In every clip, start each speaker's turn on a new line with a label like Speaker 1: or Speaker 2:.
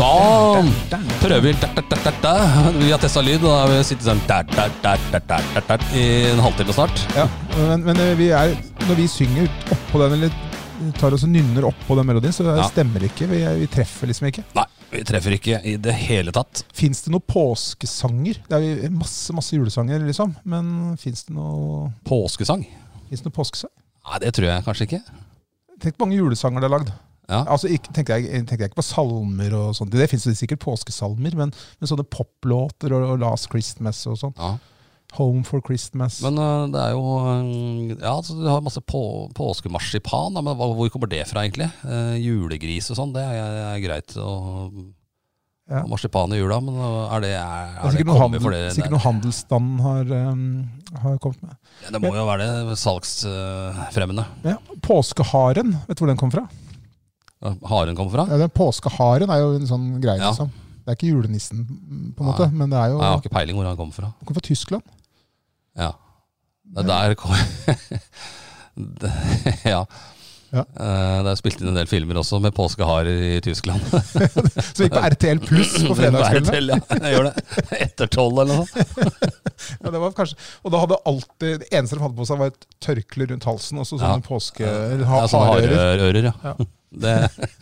Speaker 1: Da prøver vi da, da, da, da, da. Vi har testa lyd, og da har vi sittet sånn da, da, da, da, da, da, da, i en halvtime snart.
Speaker 2: Ja, men, men eh, vi er, når vi synger oppå den, eller tar oss og nynner oppå den melodien, så
Speaker 1: Ja.
Speaker 2: stemmer det ikke. Vi, er- vi treffer liksom ikke.
Speaker 1: Nei, vi treffer ikke i det hele tatt.
Speaker 2: Fins det noen påskesanger? Det er jo masse masse julesanger, liksom. Men fins det noe,
Speaker 1: Påskesang?
Speaker 2: finnes det noe påskesang?
Speaker 1: Nei, det tror jeg kanskje ikke.
Speaker 2: Tenk på mange julesanger det er lagd.
Speaker 1: Ja.
Speaker 2: Altså, ikke, tenkte jeg, tenkte jeg ikke på salmer og sånt. Det fins sikkert påskesalmer, men, men sånne poplåter og, og Last Christmas og sånn.
Speaker 1: Ja.
Speaker 2: Home for Christmas.
Speaker 1: Men øh, det er jo øh, Ja, altså, du har masse på, påskemarsipan. Da, men hva- hvor kommer det fra, egentlig? Eh, julegris og sånn, det er, er greit. Og,
Speaker 2: Ja.
Speaker 1: og marsipan i jula, men øh, er det, er,
Speaker 2: det er
Speaker 1: er det
Speaker 2: sikkert noe,
Speaker 1: kommet for
Speaker 2: handel,
Speaker 1: det?
Speaker 2: sikkert noe handelsstanden har, eh, har kommet med.
Speaker 1: det, det må jo være det salgsfremmende.
Speaker 2: Ja, påskeharen, vet du hvor den kom fra?
Speaker 1: Haren kommer fra?
Speaker 2: Ja, den Påskeharen er jo en sånn greie.
Speaker 1: Ja.
Speaker 2: Liksom. Det er ikke julenissen, mm, på en
Speaker 1: Nei.
Speaker 2: måte, men det er jo
Speaker 1: Nei, jeg har ikke peiling hvor han kommer fra.
Speaker 2: den kom fra Tyskland.
Speaker 1: Ja. Det der kom det, Ja.
Speaker 2: Ja.
Speaker 1: Eh, Det er spilt inn en del filmer også med påskeharer i Tyskland.
Speaker 2: Så gikk på RTL Pluss på
Speaker 1: Det
Speaker 2: fredagskveldene.
Speaker 1: er til, Ja, jeg gjør det. Etter tolv eller noe sånt.
Speaker 2: Ja, det var kanskje, og da hadde alltid, det eneste de hadde på seg, var et tørkle rundt halsen. Og så
Speaker 1: Ja.
Speaker 2: sånne påske... Eller ha,
Speaker 1: Ja, sånn sånne
Speaker 2: hareører.
Speaker 1: hareører, ja.
Speaker 2: Ja.
Speaker 1: Det,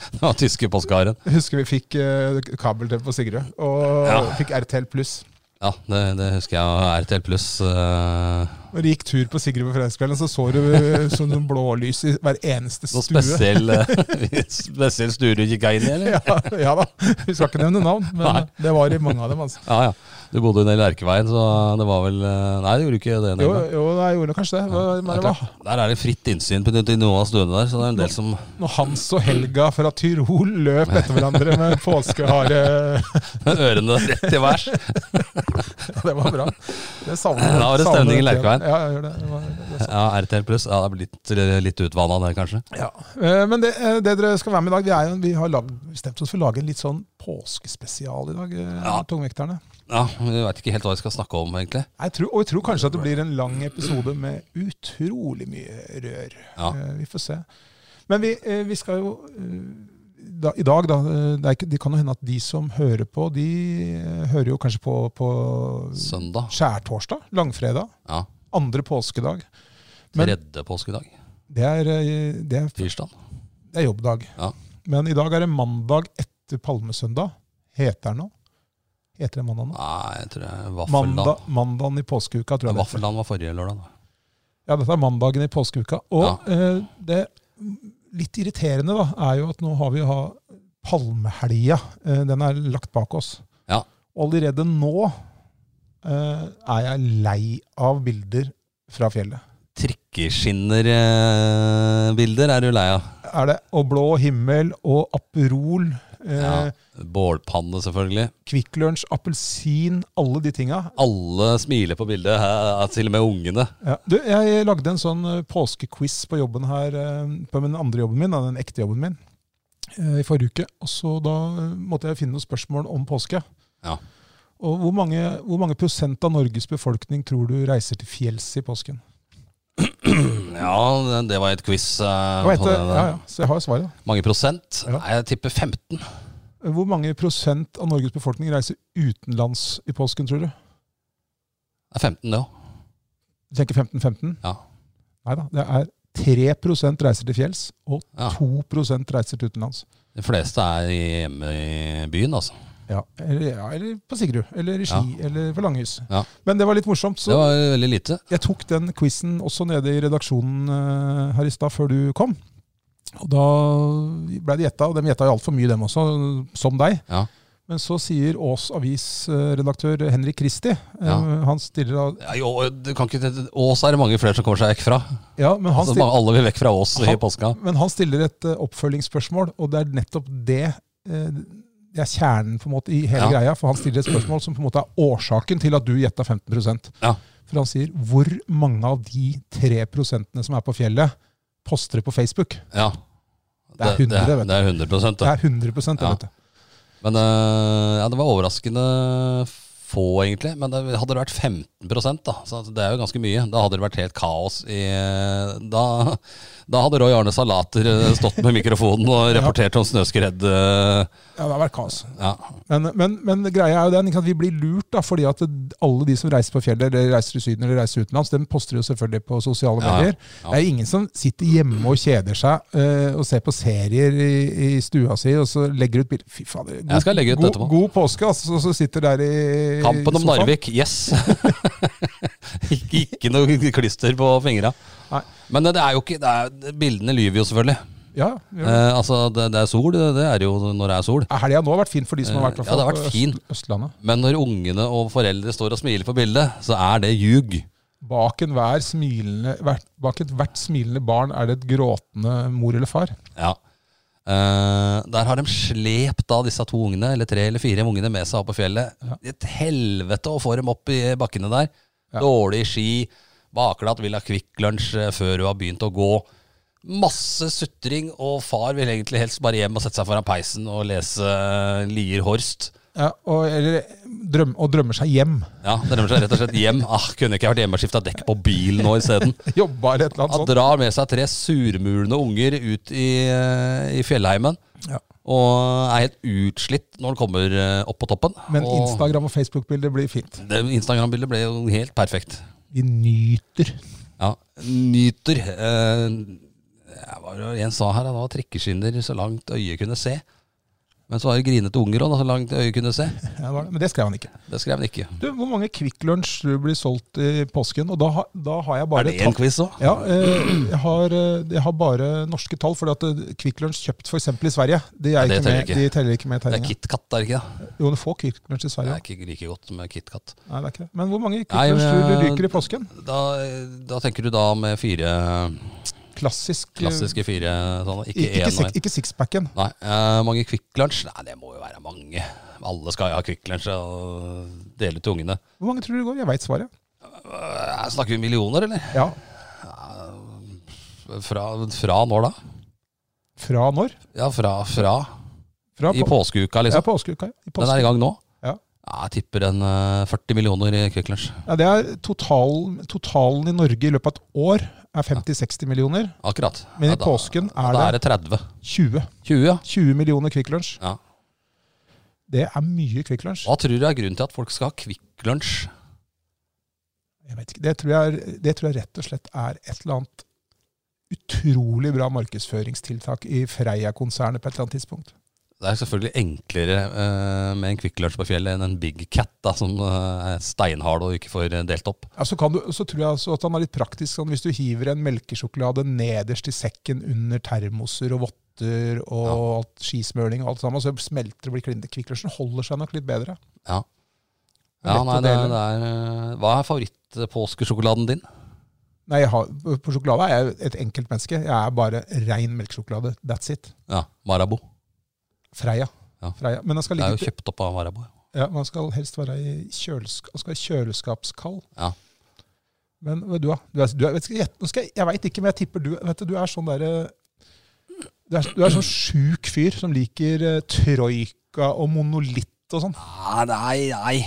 Speaker 1: det var tyske påskeharen.
Speaker 2: Jeg Husker vi fikk eh, kabel-TV på Sigrud, og
Speaker 1: Ja.
Speaker 2: fikk RTL Pluss.
Speaker 1: Ja, det, det husker jeg. og RTL pluss. eh,
Speaker 2: Når du gikk tur på Sigrud på fredagskvelden, så så du sånn blålys i hver eneste
Speaker 1: Noe
Speaker 2: stue.
Speaker 1: spesiell, eh, spesiell stue du gikk inn i, eller?
Speaker 2: Ja, ja da. Vi skal ikke nevne navn, men
Speaker 1: Nei.
Speaker 2: det var i mange av dem. altså.
Speaker 1: Ja, ja. Du bodde jo nede i Lerkeveien, så det var vel eh, Nei, du gjorde ikke det. den
Speaker 2: Jo,
Speaker 1: gangen.
Speaker 2: jo jeg gjorde nok kanskje det. Hva-
Speaker 1: Det
Speaker 2: men
Speaker 1: er
Speaker 2: det var
Speaker 1: klart, der er det fritt innsyn på i noen av stuene der, så det er en del som
Speaker 2: når Hans og Helga fra Tyrol løp etter hverandre med påskehare.
Speaker 1: med ørene rett til værs.
Speaker 2: Det var bra. Det savner
Speaker 1: Da var det
Speaker 2: savner
Speaker 1: stemning i
Speaker 2: jeg.
Speaker 1: Lerkeveien.
Speaker 2: Ja, jeg gjør det. det, var, sånn. det
Speaker 1: Ja, RTL pluss. Ja, det er blitt eh, litt utvanna der, kanskje.
Speaker 2: ja. Eh, Men det, eh, det dere skal være med i dag, vi, er, jo- vi har lag, bestemt oss for å lage en litt sånn påskespesial i dag, eh,
Speaker 1: Ja.
Speaker 2: tungvekterne.
Speaker 1: Ja, Vi veit ikke helt hva vi skal snakke om, egentlig.
Speaker 2: Jeg tror, og jeg tror kanskje at det blir en lang episode med utrolig mye rør.
Speaker 1: Ja.
Speaker 2: Eh, Vi får se. Men vi, eh, vi skal jo eh, da, I dag, da. eh, Det, er ikke, det kan jo hende at de som hører på, de eh, hører jo kanskje på på
Speaker 1: Søndag.
Speaker 2: skjærtorsdag, langfredag,
Speaker 1: Ja.
Speaker 2: andre påskedag. Men-
Speaker 1: Tredje påskedag.
Speaker 2: Det er, eh, det er,
Speaker 1: Tirsdag.
Speaker 2: det er jobbdag.
Speaker 1: Ja.
Speaker 2: Men i dag er det mandag etter palmesøndag. Heter den nå? Heter det mandag nå?
Speaker 1: Nei, jeg tror det er
Speaker 2: Mandag,
Speaker 1: Vaffelland.
Speaker 2: mandagen i påskeuka, tror jeg. det heter.
Speaker 1: Vaffelland var forrige lørdag. da.
Speaker 2: Ja, dette er mandagen i påskeuka. Og eh, det litt irriterende da, er jo at nå har vi ha palmehelga. Eh, den er lagt bak oss.
Speaker 1: Ja.
Speaker 2: Og allerede nå eh, er jeg lei av bilder fra fjellet.
Speaker 1: Trikkeskinner-bilder eh, er du lei av.
Speaker 2: Er det Og blå himmel og Aperol. Eh,
Speaker 1: Ja. Bålpanne, selvfølgelig.
Speaker 2: Kvikk Lunsj, appelsin, alle de tinga.
Speaker 1: Alle smiler på bildet, hæ, til og med ungene.
Speaker 2: Ja. Du, jeg lagde en sånn eh, påskequiz på jobben her, eh, på den andre jobben min, da, den ekte jobben min, eh, i forrige uke. Og så da eh, måtte jeg finne noen spørsmål om påske.
Speaker 1: Ja.
Speaker 2: Og hvor mange, hvor mange prosent av Norges befolkning tror du reiser til fjells i påsken?
Speaker 1: Ja, det- det var et quiz. eh,
Speaker 2: Hva
Speaker 1: på det,
Speaker 2: heter, ja, ja, så jeg har jo svaret.
Speaker 1: Mange prosent?
Speaker 2: Ja.
Speaker 1: Nei, jeg tipper 15.
Speaker 2: Hvor mange prosent av Norges befolkning reiser utenlands i påsken, tror du?
Speaker 1: Det er 15 det òg.
Speaker 2: Du tenker 15-15?
Speaker 1: Ja.
Speaker 2: Nei da, det er 3 reiser til fjells, og
Speaker 1: Ja.
Speaker 2: 2 reiser til utenlands.
Speaker 1: De fleste er hjemme i byen, altså.
Speaker 2: Ja, eller, ja, eller på Sigrud, eller i Ski, eller på Langhus.
Speaker 1: Ja.
Speaker 2: Men det var litt morsomt, så
Speaker 1: Det var veldig lite.
Speaker 2: jeg tok den quizen også nede i redaksjonen eh, her i stad, før du kom. Og da ble det gjetta, og de gjetta jo altfor mye, dem også, som deg.
Speaker 1: Ja.
Speaker 2: Men så sier Ås avisredaktør Henrik Kristi, eh,
Speaker 1: Ja.
Speaker 2: han stiller av
Speaker 1: Ja, jo, du kan ikke, Ås er det mange flere som kommer seg vekk fra.
Speaker 2: Ja, men han
Speaker 1: Altså,
Speaker 2: stiller,
Speaker 1: mange, alle vil vekk fra Ås i
Speaker 2: Han-
Speaker 1: påska.
Speaker 2: men han stiller et eh, oppfølgingsspørsmål, og det er nettopp det eh, det er kjernen på en måte i
Speaker 1: Ja.
Speaker 2: hele greia. For han stiller et spørsmål som på en måte er årsaken til at du gjetta 15
Speaker 1: Ja.
Speaker 2: For han sier hvor mange av de tre prosentene som er på fjellet, poster det på Facebook?
Speaker 1: Ja.
Speaker 2: Det er 100,
Speaker 1: det,
Speaker 2: vet
Speaker 1: det
Speaker 2: du.
Speaker 1: er 100
Speaker 2: Det
Speaker 1: det.
Speaker 2: er 100 det,
Speaker 1: Ja.
Speaker 2: vet du.
Speaker 1: Men eh, ja, det var overraskende få, egentlig. Men det, hadde det vært 15 da, så det er jo ganske mye, da hadde det vært helt kaos i Da, da hadde Roy Arne Salater eh, stått med mikrofonen og rapportert om snøskred. eh,
Speaker 2: Ja, det har vært kaos.
Speaker 1: Ja.
Speaker 2: Men, men, men greia er jo den, ikke sant? vi blir lurt da, fordi at alle de som reiser på fjellet, eller reiser i syden eller reiser utenlands, de poster jo selvfølgelig på sosiale
Speaker 1: Ja,
Speaker 2: medier.
Speaker 1: ja.
Speaker 2: Det er ingen som sitter hjemme og kjeder seg eh, og ser på serier i, i stua si og så legger ut bilder. Fy fader, god,
Speaker 1: Jeg skal legge ut
Speaker 2: god,
Speaker 1: etterpå.
Speaker 2: god påske, altså, og så sitter der i
Speaker 1: Kampen
Speaker 2: i
Speaker 1: om
Speaker 2: sofaen.
Speaker 1: Narvik, yes! sånn. ikke, ikke noe klister på fingra.
Speaker 2: Nei.
Speaker 1: Men det er jo ikke det er, Bildene lyver jo, selvfølgelig.
Speaker 2: Ja, ja.
Speaker 1: Eh, altså, det, det er sol, det, det er jo når det er sol.
Speaker 2: Helga nå har vært fin for de som har vært, i hvert
Speaker 1: eh, Ja, det har
Speaker 2: fall
Speaker 1: vært
Speaker 2: på
Speaker 1: fin.
Speaker 2: Øst, Østlandet.
Speaker 1: Men når ungene og foreldre står og smiler på bildet, så er det ljug.
Speaker 2: Bak, enhver smilende, hvert, bak ethvert smilende barn er det et gråtende mor eller far.
Speaker 1: Ja. Eh, der har de slept da disse to ungene, eller tre eller fire ungene, med seg opp på fjellet. Et helvete å få dem opp i bakkene der.
Speaker 2: Ja.
Speaker 1: Dårlig ski, bakglatt, vil ha Kvikk Lunsj eh, før hun har begynt å gå. Masse sutring, og far vil egentlig helst bare hjem og sette seg foran peisen og lese eh, Lier Horst.
Speaker 2: Ja, og, eller, drøm, og drømmer seg hjem.
Speaker 1: Ja, Det rømmer seg rett og slett hjem. Ah, Kunne ikke jeg vært hjemme og skifta dekk på bilen nå isteden?
Speaker 2: Jobba eller et eller
Speaker 1: Han
Speaker 2: annet sånt.
Speaker 1: drar med seg tre surmulende unger ut i, eh, i fjellheimen.
Speaker 2: Ja.
Speaker 1: Og er helt utslitt når han kommer eh, opp på toppen.
Speaker 2: Men
Speaker 1: og
Speaker 2: Instagram og Facebook-bilder blir fint.
Speaker 1: det Instagram-bildet ble jo helt perfekt.
Speaker 2: Vi nyter.
Speaker 1: Ja, Nyter. Eh, jeg var, jo- en sa her at det var trikkeskinner så langt øyet kunne se. Men så var det grinete unger òg, så langt øyet kunne se.
Speaker 2: Ja, det var det. Men det skrev han ikke.
Speaker 1: Det skrev han ikke.
Speaker 2: Du, Hvor mange Kvikk Lunsj blir solgt i påsken? Og da, ha- da har jeg
Speaker 1: Er
Speaker 2: bare
Speaker 1: det en
Speaker 2: tatt-
Speaker 1: quiz òg?
Speaker 2: Ja, eh, jeg har, eh, jeg har bare norske tall, fordi at eh, Kvikk Lunsj kjøpt f.eks. i Sverige, de, er
Speaker 1: Ja, det
Speaker 2: ikke
Speaker 1: teller
Speaker 2: med,
Speaker 1: ikke.
Speaker 2: de teller ikke med i
Speaker 1: Det er
Speaker 2: tegninga.
Speaker 1: KitKat, er det ikke det?
Speaker 2: Jo, du får Kvikk Lunsj i
Speaker 1: Det
Speaker 2: Sverige.
Speaker 1: er ikke like godt med KitKat.
Speaker 2: Nei, det er ikke det. Men hvor mange Kvikk
Speaker 1: Nei,
Speaker 2: Lunsj tror du
Speaker 1: men-
Speaker 2: ryker i påsken?
Speaker 1: Da, eh, da tenker du da med fire
Speaker 2: Klassisk. eh,
Speaker 1: klassiske fire sånne, ikke
Speaker 2: Ikke, ikke,
Speaker 1: én og
Speaker 2: six-
Speaker 1: én.
Speaker 2: ikke sixpacken.
Speaker 1: Nei, eh, mange Kvikk Lunsj? Nei, det må jo være mange. Alle skal jo ha Kvikk Lunsj og dele ut til ungene.
Speaker 2: Hvor mange tror du det går? Jeg veit svaret.
Speaker 1: Eh, snakker vi millioner, eller? Eh,
Speaker 2: Ja,
Speaker 1: Fra, fra når da?
Speaker 2: Fra når?
Speaker 1: Ja, fra, fra
Speaker 2: Fra
Speaker 1: i påskeuka,
Speaker 2: Ja,
Speaker 1: liksom.
Speaker 2: påskeuka. I
Speaker 1: Den er i
Speaker 2: påske.
Speaker 1: gang nå?
Speaker 2: Ja.
Speaker 1: Jeg tipper en eh, 40 millioner i Kvikk Lunsj.
Speaker 2: Ja, det er total, totalen i Norge i løpet av et år er 50-60 millioner.
Speaker 1: Akkurat.
Speaker 2: Men
Speaker 1: Ja,
Speaker 2: i påsken
Speaker 1: da,
Speaker 2: er
Speaker 1: da
Speaker 2: det
Speaker 1: er det 30.
Speaker 2: 20.
Speaker 1: 20, ja.
Speaker 2: 20 millioner Kvikk Lunsj.
Speaker 1: ja.
Speaker 2: Det er mye Kvikk Lunsj.
Speaker 1: Hva tror du er grunnen til at folk skal ha Kvikk Lunsj?
Speaker 2: Jeg vet ikke. Det tror jeg, er- det tror jeg rett og slett er et eller annet utrolig bra markedsføringstiltak i Freia-konsernet på et eller annet tidspunkt.
Speaker 1: Det er selvfølgelig enklere eh, med en Kvikk Lunsj på fjellet enn en Big Cat, da, som eh, er steinhard og ikke får eh, delt opp.
Speaker 2: Ja, så, kan du, så tror jeg altså at han er litt praktisk. Sånn, hvis du hiver en melkesjokolade nederst i sekken under termoser og votter og alt, skismøring og alt sammen, så smelter det og blir klinte. Kvikk Lunsjen holder seg nok litt bedre.
Speaker 1: Ja,
Speaker 2: Lett
Speaker 1: ja
Speaker 2: å
Speaker 1: nei, det,
Speaker 2: dele.
Speaker 1: er- det er eh, Hva er favorittpåskesjokoladen din?
Speaker 2: Nei, jeg har, på sjokolade er jeg et enkelt menneske. Jeg er bare rein melkesjokolade. That's it.
Speaker 1: Ja, Marabou.
Speaker 2: Freia.
Speaker 1: Ja.
Speaker 2: Freia. Men den skal,
Speaker 1: Det er
Speaker 2: ligge
Speaker 1: jo kjøpt opp av Marabou.
Speaker 2: til- ja, man skal helst være i kjølesk, man skal være kjøleskapskald.
Speaker 1: Ja.
Speaker 2: Men vet du, hva? du, er, du er, vet ikke, jeg, nå skal jeg, jeg veit ikke, men jeg tipper du vet du, du er sånn derre du, er- du er sånn sjuk fyr som liker eh, troika og monolitt og sånn.
Speaker 1: Nei, Ah, nei, nei.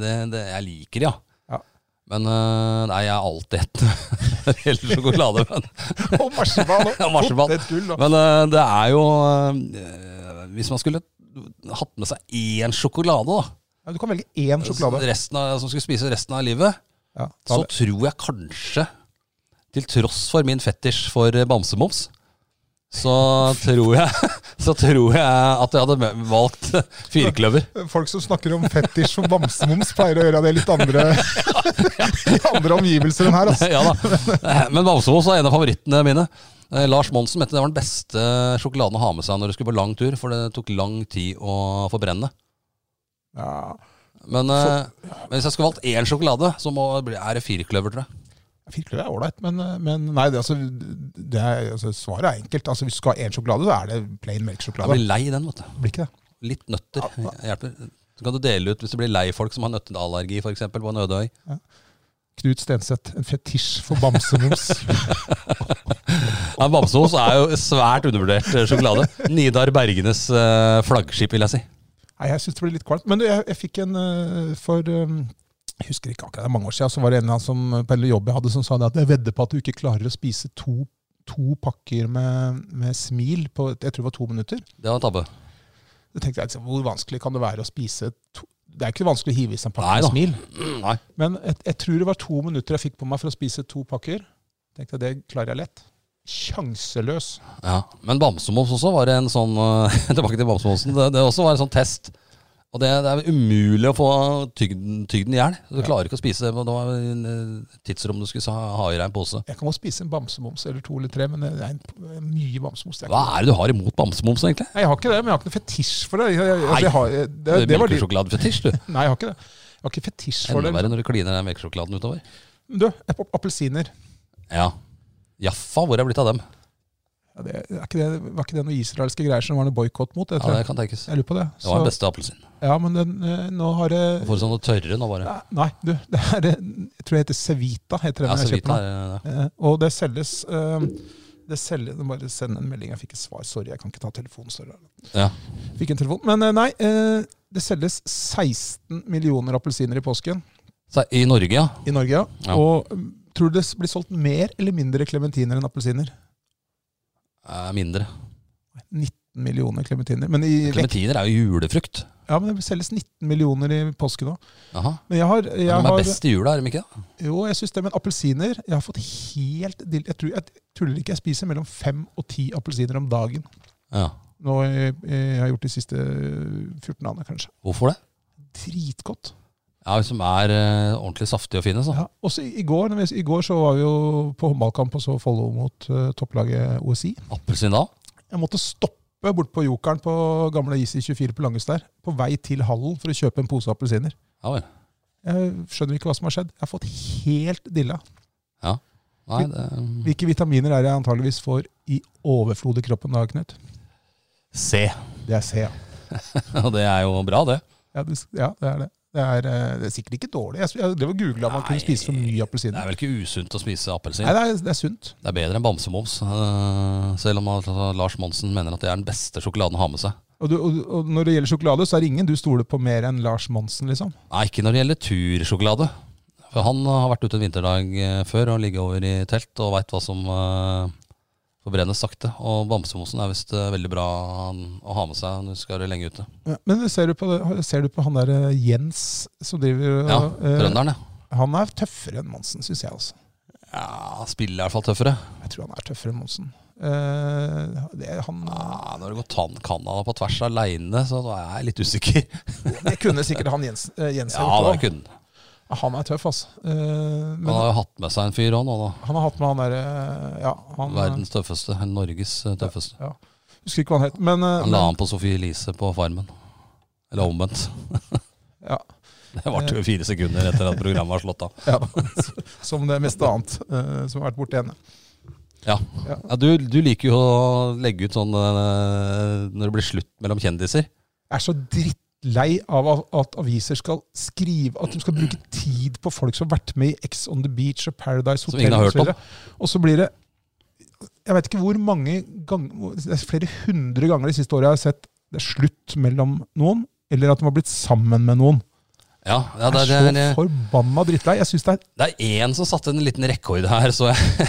Speaker 1: Det, det, jeg liker det, ja.
Speaker 2: Ja.
Speaker 1: Men eh, nei, jeg er alltid et når det gjelder sjokolade. Men,
Speaker 2: Og marsipan og
Speaker 1: Og marsipan.
Speaker 2: potetgull. og-
Speaker 1: men eh, det er jo eh, Hvis man skulle hatt med seg én sjokolade, da.
Speaker 2: Ja, du kan velge én sjokolade.
Speaker 1: Resten av, som skulle spise resten av livet,
Speaker 2: Ja, ta
Speaker 1: så
Speaker 2: det.
Speaker 1: tror jeg kanskje, til tross for min fetisj for eh, bamsemums, så tror jeg, så tror jeg at jeg hadde me- valgt firkløver.
Speaker 2: Folk som snakker om fetisj og bamsemums, pleier å gjøre det litt andre, i andre omgivelser enn her. Altså.
Speaker 1: ja da. Men bamsemums var en av favorittene mine. Eh, Lars Monsen mente det var den beste sjokoladen å ha med seg når du skulle på lang tur, for det tok lang tid å forbrenne.
Speaker 2: Ja,
Speaker 1: Men, eh, men hvis jeg skulle valgt én sjokolade, så må, bli- er det firkløver, tror jeg.
Speaker 2: Firkløver er ålreit, men, men nei, det, altså, det er, altså, svaret er enkelt. Altså, hvis du skal ha én sjokolade, så er det plain
Speaker 1: Jeg
Speaker 2: melkesjokolade.
Speaker 1: blir lei den, vet du.
Speaker 2: Blir ikke det.
Speaker 1: Litt nøtter hjelper. Så kan du dele ut hvis du blir lei folk som har nøtteallergi for eksempel, på en øde øy.
Speaker 2: Knut Stenseth, en fetisj for bamsemums.
Speaker 1: Ja, Bamseos er jo svært undervurdert eh, sjokolade. Nidar Bergenes eh, flaggskip, vil jeg si.
Speaker 2: Nei, jeg syns det blir litt kvalmt. Men du, jeg, jeg fikk en eh, for eh, jeg husker ikke akkurat, det er mange år siden, så var det en av dem som eh, på en jobb jeg hadde som sa det at jeg vedder på at du ikke klarer å spise to, to pakker med, med smil på jeg tror det var to minutter.
Speaker 1: Det var en tabbe.
Speaker 2: Da tenkte jeg liksom, hvor vanskelig kan det være å spise to Det er ikke vanskelig å hive i seg en pakke
Speaker 1: Nei
Speaker 2: med
Speaker 1: da.
Speaker 2: smil.
Speaker 1: Nei.
Speaker 2: Men jeg, jeg tror det var to minutter jeg fikk på meg for å spise to pakker. Tenkte jeg, Det klarer jeg lett. Sjanseløs.
Speaker 1: Ja. Men bamsemums også var en sånn eh, Tilbake til bamsemumsen. Det, det også var en sånn test. Og det, det er umulig å få tygden, tygden i hjel. Du
Speaker 2: Ja.
Speaker 1: klarer ikke å spise det. men Det var en eh, tidsrom du skulle sa- ha i deg en pose.
Speaker 2: Jeg kan godt spise en bamsemums eller to eller tre, men det er en, mye bamsemums. Det er
Speaker 1: Hva
Speaker 2: ikke-
Speaker 1: er det du har imot bamsemums, egentlig?
Speaker 2: Nei, jeg har ikke det, men jeg har ikke noe fetisj for det. Jeg, jeg, altså,
Speaker 1: Nei.
Speaker 2: jeg har, jeg,
Speaker 1: Det,
Speaker 2: det,
Speaker 1: er
Speaker 2: det var de,
Speaker 1: melkesjokoladefetisj, du.
Speaker 2: nei, jeg har ikke det. Jeg har ikke fetisj for
Speaker 1: Enda
Speaker 2: det.
Speaker 1: verre når du kliner den melkesjokoladen utover.
Speaker 2: Du, ap- appelsiner.
Speaker 1: Ja. Jaffa, hvor er det blitt av dem?
Speaker 2: Ja, det, er ikke det, var ikke det noen israelske greier som det var noe boikott mot? Jeg,
Speaker 1: Ja,
Speaker 2: tror
Speaker 1: det
Speaker 2: jeg.
Speaker 1: kan tenkes.
Speaker 2: jeg lurer på det.
Speaker 1: Det var
Speaker 2: Så-
Speaker 1: den beste appelsin.
Speaker 2: ja, men den, eh, nå har det
Speaker 1: Du får sånne tørre nå, bare.
Speaker 2: Nei, du. Det er, eh, jeg tror det heter Cevita. heter den
Speaker 1: Ja,
Speaker 2: jeg
Speaker 1: så
Speaker 2: kjøper
Speaker 1: vidt
Speaker 2: nå.
Speaker 1: er det.
Speaker 2: Eh, Og det selges eh, det selges, nå må jeg Bare send en melding. Jeg fikk et svar. Sorry, jeg kan ikke ta telefonen. Sorry.
Speaker 1: Ja.
Speaker 2: Fikk en telefon. Men eh, nei, eh, det selges 16 millioner appelsiner i påsken
Speaker 1: Så I Norge, ja.
Speaker 2: i Norge. Ja.
Speaker 1: Ja.
Speaker 2: Og mm, tror du det s- blir solgt mer eller mindre klementiner enn appelsiner?
Speaker 1: er Mindre.
Speaker 2: Nei, 19 millioner klementiner. Men, i, vekt-
Speaker 1: Klementiner er jo julefrukt.
Speaker 2: ja, men det selges 19 millioner i påsken òg.
Speaker 1: Jaha.
Speaker 2: Men jeg har,
Speaker 1: Men
Speaker 2: jeg
Speaker 1: de er
Speaker 2: har
Speaker 1: best i jula, er de ikke det?
Speaker 2: Jo, jeg syns det. Men appelsiner Jeg har fått helt dill- Jeg, tror- jeg tuller ikke. Jeg spiser mellom fem og ti appelsiner om dagen.
Speaker 1: Ja.
Speaker 2: Nå eh, jeg har gjort de siste 14 dagene, kanskje.
Speaker 1: Hvorfor det?
Speaker 2: Dritgodt.
Speaker 1: Ja, Hvis de er eh, ordentlig saftige og fine, så.
Speaker 2: Ja. Også i i går, når vi- i går så var vi jo på håndballkamp og så Follo mot eh, topplaget OSI.
Speaker 1: Appelsin da?
Speaker 2: Jeg måtte stoppe bort på Jokeren på gamle IC24 på Langes der, på vei til hallen for å kjøpe en pose appelsiner.
Speaker 1: Ja vel.
Speaker 2: Jeg skjønner ikke hva som har skjedd. Jeg har fått helt dilla.
Speaker 1: Nei, det,
Speaker 2: Hvilke vitaminer er det jeg antageligvis får i overflod i kroppen da, Knut?
Speaker 1: C.
Speaker 2: Det er C, ja.
Speaker 1: Og det er jo bra, det.
Speaker 2: Ja, det, ja, det er det. Det er, eh, det er sikkert ikke dårlig. Jeg, jeg drev og googla om man kunne
Speaker 1: Nei,
Speaker 2: spise for mye
Speaker 1: Det
Speaker 2: appelsiner.
Speaker 1: er vel ikke usunt å spise appelsin?
Speaker 2: Nei, det er, det er sunt.
Speaker 1: Det er bedre enn bamsemums. eh, Selv om altså, Lars Monsen mener at det er den beste sjokoladen å ha med seg.
Speaker 2: Og, du, og, og når det gjelder sjokolade, så er det ingen du stoler på mer enn Lars Monsen, liksom.
Speaker 1: Nei, ikke når det gjelder tursjokolade. For han har vært ute en vinterdag eh, før og ligget over i telt og veit hva som eh, forbrennes sakte. Og bamsemosen er visst eh, veldig bra å ha med seg når du skal være lenge ute.
Speaker 2: Ja, Men ser du på, det- ser du på han der eh, Jens som driver
Speaker 1: Ja,
Speaker 2: og, eh,
Speaker 1: Trønderen, ja.
Speaker 2: Han er tøffere enn Monsen, syns jeg. altså.
Speaker 1: ja. Spiller er i hvert fall tøffere.
Speaker 2: Jeg tror han er tøffere enn Monsen. Eh, det, han,
Speaker 1: Ja, når det går tann Canada på tvers aleine, så da er jeg litt usikker.
Speaker 2: det kunne sikkert han Jens, eh, Jens
Speaker 1: Ja,
Speaker 2: ha
Speaker 1: det
Speaker 2: gjort òg.
Speaker 1: kunne han.
Speaker 2: Han er tøff, altså. Eh, men
Speaker 1: Han har jo hatt med seg en fyr òg nå, da.
Speaker 2: han har hatt med han derre Ja, han
Speaker 1: Verdens tøffeste. eller Norges eh, tøffeste.
Speaker 2: Ja. Husker ikke hva han het. Men, eh,
Speaker 1: Han la an på Sophie Elise på Farmen. Eller omvendt.
Speaker 2: Ja.
Speaker 1: Det varte jo fire sekunder etter at programmet var slått av.
Speaker 2: Ja, som det meste annet eh, som har vært borti henne.
Speaker 1: Ja.
Speaker 2: Ja.
Speaker 1: ja du, du liker jo å legge ut sånn eh, når det blir slutt mellom kjendiser.
Speaker 2: Jeg er så drittlei av at- at aviser skal skrive At de skal bruke tid på folk som har vært med i X on the Beach og Paradise
Speaker 1: Som
Speaker 2: Hotel.
Speaker 1: ingen har
Speaker 2: og så
Speaker 1: hørt om.
Speaker 2: videre. Og så blir det Jeg vet ikke hvor mange ganger Det er flere hundre ganger de siste åra jeg har sett det er slutt mellom noen, eller at de har blitt sammen med noen.
Speaker 1: Ja, ja det,
Speaker 2: jeg
Speaker 1: er,
Speaker 2: er
Speaker 1: det,
Speaker 2: så
Speaker 1: er,
Speaker 2: forbanna drittlei. Jeg syns det er
Speaker 1: det er en som satte en liten rekord her, så jeg.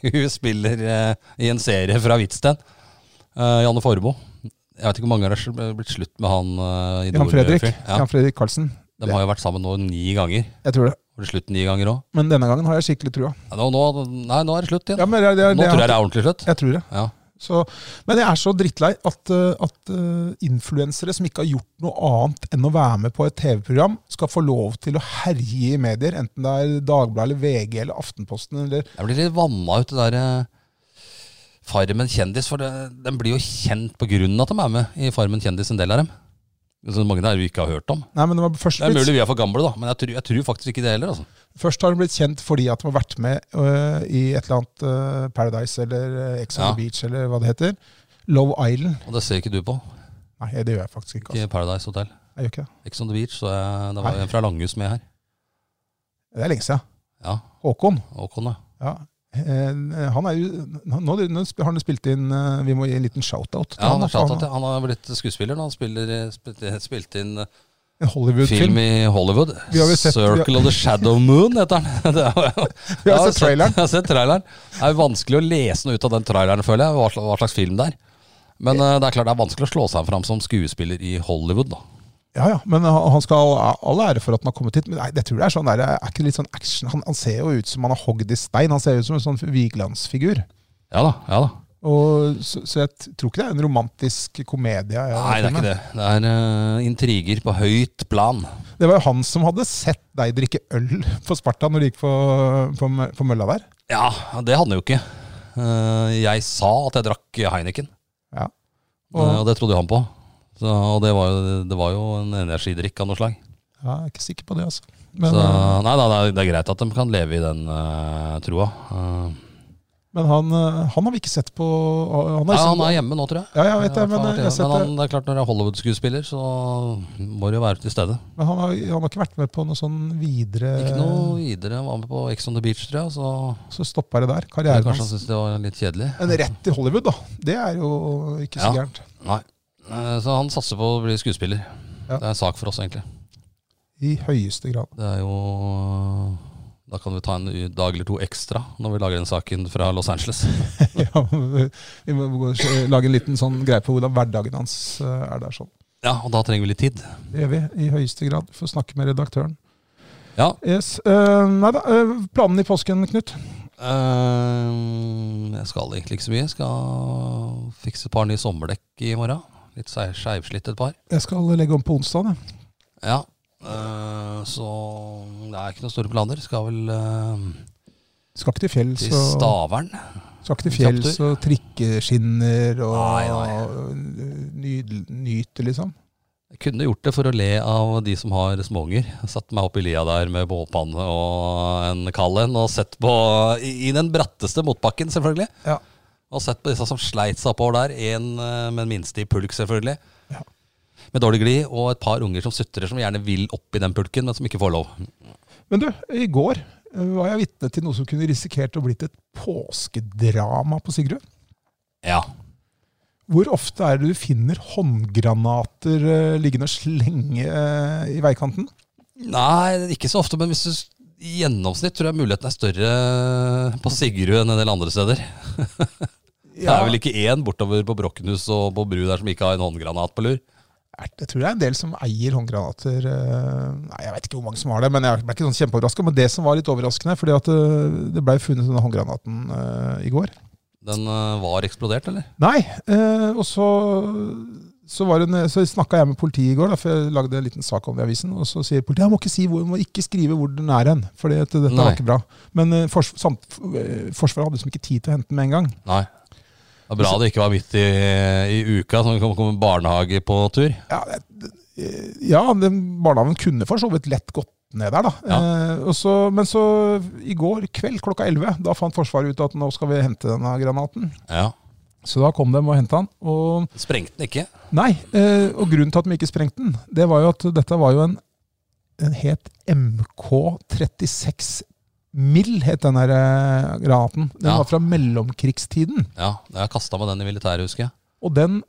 Speaker 1: Hun spiller eh, i en serie fra Hvitsten. Eh, Janne Formoe. Jeg vet ikke hvor mange ganger det har blitt slutt med han uh,
Speaker 2: Jan Fredrik,
Speaker 1: Ja,
Speaker 2: Jan Fredrik Karlsen.
Speaker 1: de har jo vært sammen nå ni ganger.
Speaker 2: Jeg tror det.
Speaker 1: Var det slutt ni ganger òg?
Speaker 2: Men denne gangen har jeg skikkelig trua.
Speaker 1: Ja, nå, nå, nei, nå er det slutt igjen.
Speaker 2: Ja, men det, er- det, er-
Speaker 1: nå
Speaker 2: det,
Speaker 1: tror jeg
Speaker 2: er-
Speaker 1: det er ordentlig slutt.
Speaker 2: jeg tror det.
Speaker 1: Ja.
Speaker 2: Så, men jeg er så drittlei at, eh, at eh, influensere som ikke har gjort noe annet enn å være med på et TV-program, skal få lov til å herje i medier, enten det er Dagbladet eller VG eller Aftenposten. Eller,
Speaker 1: Jeg blir litt vanna ut det der eh, Farmen kjendis, for det, den blir jo kjent på grunn av at de er med i Farmen kjendis, en del av dem. Så mange der vi ikke har hørt om.
Speaker 2: nei, men det var først,
Speaker 1: Det er
Speaker 2: blitt,
Speaker 1: mulig vi er for gamle, da, men jeg tror, jeg tror faktisk ikke det heller. altså.
Speaker 2: først har de blitt kjent fordi at de har vært med eh, i et eller annet eh, Paradise eller eh, Ex on
Speaker 1: Ja.
Speaker 2: the Beach eller hva det heter. Love Island.
Speaker 1: Og det ser ikke du på.
Speaker 2: Nei, det gjør jeg faktisk ikke. Altså.
Speaker 1: Ikke Paradise Hotel.
Speaker 2: Jeg gjør ikke det.
Speaker 1: Ex on the Beach, så jeg, det var
Speaker 2: Nei.
Speaker 1: en fra Langhus med her.
Speaker 2: Det er lenge siden.
Speaker 1: Ja,
Speaker 2: Håkon.
Speaker 1: Håkon, ja.
Speaker 2: Ja. Eh, Han er jo, nå, nå sp- har han jo spilt inn eh, Vi må gi en liten shout-out. til
Speaker 1: Ja, han, har
Speaker 2: for
Speaker 1: sagt at han har blitt skuespiller nå. Han spiller, eh, spil- spilte inn eh,
Speaker 2: En Hollywood-film.
Speaker 1: film i Hollywood.
Speaker 2: Vi har jo sett- vi
Speaker 1: Circle of the Shadow Moon heter den. Det er jo-
Speaker 2: Vi har
Speaker 1: Jeg
Speaker 2: sett traileren.
Speaker 1: Jeg har sett traileren. Det er jo vanskelig å lese noe ut av den traileren, føler jeg, hva sla- hva slags film det er. Men eh, det er klart det er vanskelig å slå seg fram som skuespiller i Hollywood. da.
Speaker 2: Ja, ja, men eh, han han skal ha all ære for at han har kommet hit. Men nei, jeg tror det er sånn der, er ikke det litt sånn action? Han, han ser jo ut som han har hogd i stein. Han ser ut som en sånn Vigelandsfigur.
Speaker 1: Ja da, ja da.
Speaker 2: Og, så, så jeg t- tror ikke det er en romantisk komedie. ja,
Speaker 1: Nei, det er
Speaker 2: filmen.
Speaker 1: ikke det. Det er eh, intriger på høyt plan.
Speaker 2: Det var jo han som hadde sett deg drikke øl på Sparta når du gikk på, på, mø- på mølla der.
Speaker 1: Ja, det hadde han jo ikke. Eh, jeg sa at jeg drakk Heineken,
Speaker 2: Ja.
Speaker 1: og,
Speaker 2: Og,
Speaker 1: og det trodde jo han på. Så, og det var, jo, det var jo en energidrikk av noe slag.
Speaker 2: ja, jeg er ikke sikker på det, altså. Men,
Speaker 1: så nei da, det er, det er greit at de kan leve i den eh, troa. Eh,
Speaker 2: men han, eh, han har vi ikke sett på Han
Speaker 1: nei,
Speaker 2: er,
Speaker 1: han er hjemme nå, tror jeg.
Speaker 2: ja, jeg vet det, men,
Speaker 1: Ja,
Speaker 2: eh, jeg har sett
Speaker 1: men
Speaker 2: det.
Speaker 1: han, det er klart når det er Hollywood-skuespiller, så må det jo være til stede.
Speaker 2: men han, har, han har ikke vært med på noe sånn videre
Speaker 1: Ikke noe videre. Han var med på Ex on the Beach, tror jeg. Så
Speaker 2: Så stoppa det der.
Speaker 1: jeg
Speaker 2: Karrieren
Speaker 1: kanskje
Speaker 2: hans.
Speaker 1: han syntes det var litt kjedelig.
Speaker 2: En rett til Hollywood, da. Det er jo ikke så
Speaker 1: Ja.
Speaker 2: gærent.
Speaker 1: Nei. Eh, Så han satser på å bli skuespiller. Det
Speaker 2: Ja.
Speaker 1: er en sak for oss, egentlig.
Speaker 2: I høyeste grad.
Speaker 1: Det er jo Da kan vi ta en u- dag eller to ekstra når vi lager den saken fra Los Angeles.
Speaker 2: ja, vi må gå og lage en liten sånn greie på hvordan hverdagen hans eh, er der sånn.
Speaker 1: Ja, og da trenger vi litt tid.
Speaker 2: Det gjør vi i høyeste grad. Får snakke med redaktøren.
Speaker 1: Ja.
Speaker 2: Yes. eh, nei da, eh, planene i påsken, Knut?
Speaker 1: eh, jeg skal egentlig ikke så mye. Jeg skal fikse et par nye sommerdekk i morgen. Litt sei- skeivslitt et par.
Speaker 2: Jeg skal legge om på onsdag. jeg.
Speaker 1: Ja. eh, så det er ikke noen store planer. Skal vel eh,
Speaker 2: Skal ikke til fjells
Speaker 1: til
Speaker 2: og,
Speaker 1: Stavern.
Speaker 2: skal ikke til fjells
Speaker 1: Kjapt,
Speaker 2: og trikkeskinner og
Speaker 1: Nei, nei.
Speaker 2: nyd- nyte, liksom.
Speaker 1: Jeg kunne gjort det for å le av de som har småunger. Jeg Satt meg opp i lia der med bålpanne og en kald en, og sett på i, i den bratteste motbakken, selvfølgelig.
Speaker 2: Ja.
Speaker 1: Og sett på disse som sleit seg oppover der. En eh, med den minste i pulk, selvfølgelig.
Speaker 2: Ja.
Speaker 1: Med dårlig glid, og et par unger som sutrer, som gjerne vil opp i den pulken, men som ikke får lov.
Speaker 2: Men du, i går eh, var jeg vitne til noe som kunne risikert å blitt et påskedrama på Sigrud.
Speaker 1: Ja.
Speaker 2: Hvor ofte er det du finner håndgranater eh, liggende og slenge eh, i veikanten?
Speaker 1: Nei, ikke så ofte, men hvis du s- i gjennomsnitt tror jeg muligheten er større på Sigrud enn en del andre steder. Det er vel ikke én bortover på Brokkenhus og på Bru der som ikke har en håndgranat på lur.
Speaker 2: er- Jeg tror det er en del som eier håndgranater. eh, Nei, Jeg vet ikke hvor mange som har det, men jeg ble ikke sånn kjempeoverraska. Men det som var litt overraskende, fordi at eh, det blei funnet denne håndgranaten eh, i går.
Speaker 1: Den eh, var eksplodert, eller?
Speaker 2: Nei, eh, og så så, var det en- så snakka jeg med politiet i går, da, for jeg lagde en liten sak om det i avisen. Og så sier politiet jeg må ikke, si hvor, må ikke skrive hvor den er hen, for dette var
Speaker 1: Nei.
Speaker 2: ikke bra. Men eh, fors, samt, eh, Forsvaret hadde liksom ikke tid til å hente den med en gang.
Speaker 1: Nei. Det er bra det ikke var midt i, i uka, så det kom, kom en barnehage på tur.
Speaker 2: Ja, det- det- ja den barnehagen kunne for så vidt lett gått ned der, da. Eh, og så, men så i går kveld klokka 11, da fant Forsvaret ut at nå skal vi hente denne granaten.
Speaker 1: Ja.
Speaker 2: Så da kom de og henta den. Og
Speaker 1: Sprengte den ikke?
Speaker 2: nei, eh, og grunnen til at de ikke sprengte den, det var jo at dette var jo en Den het MK36 Mill, het den her eh, granaten. Den
Speaker 1: Ja.
Speaker 2: var fra mellomkrigstiden.
Speaker 1: Ja, jeg kasta med den i militæret, husker jeg.
Speaker 2: Og den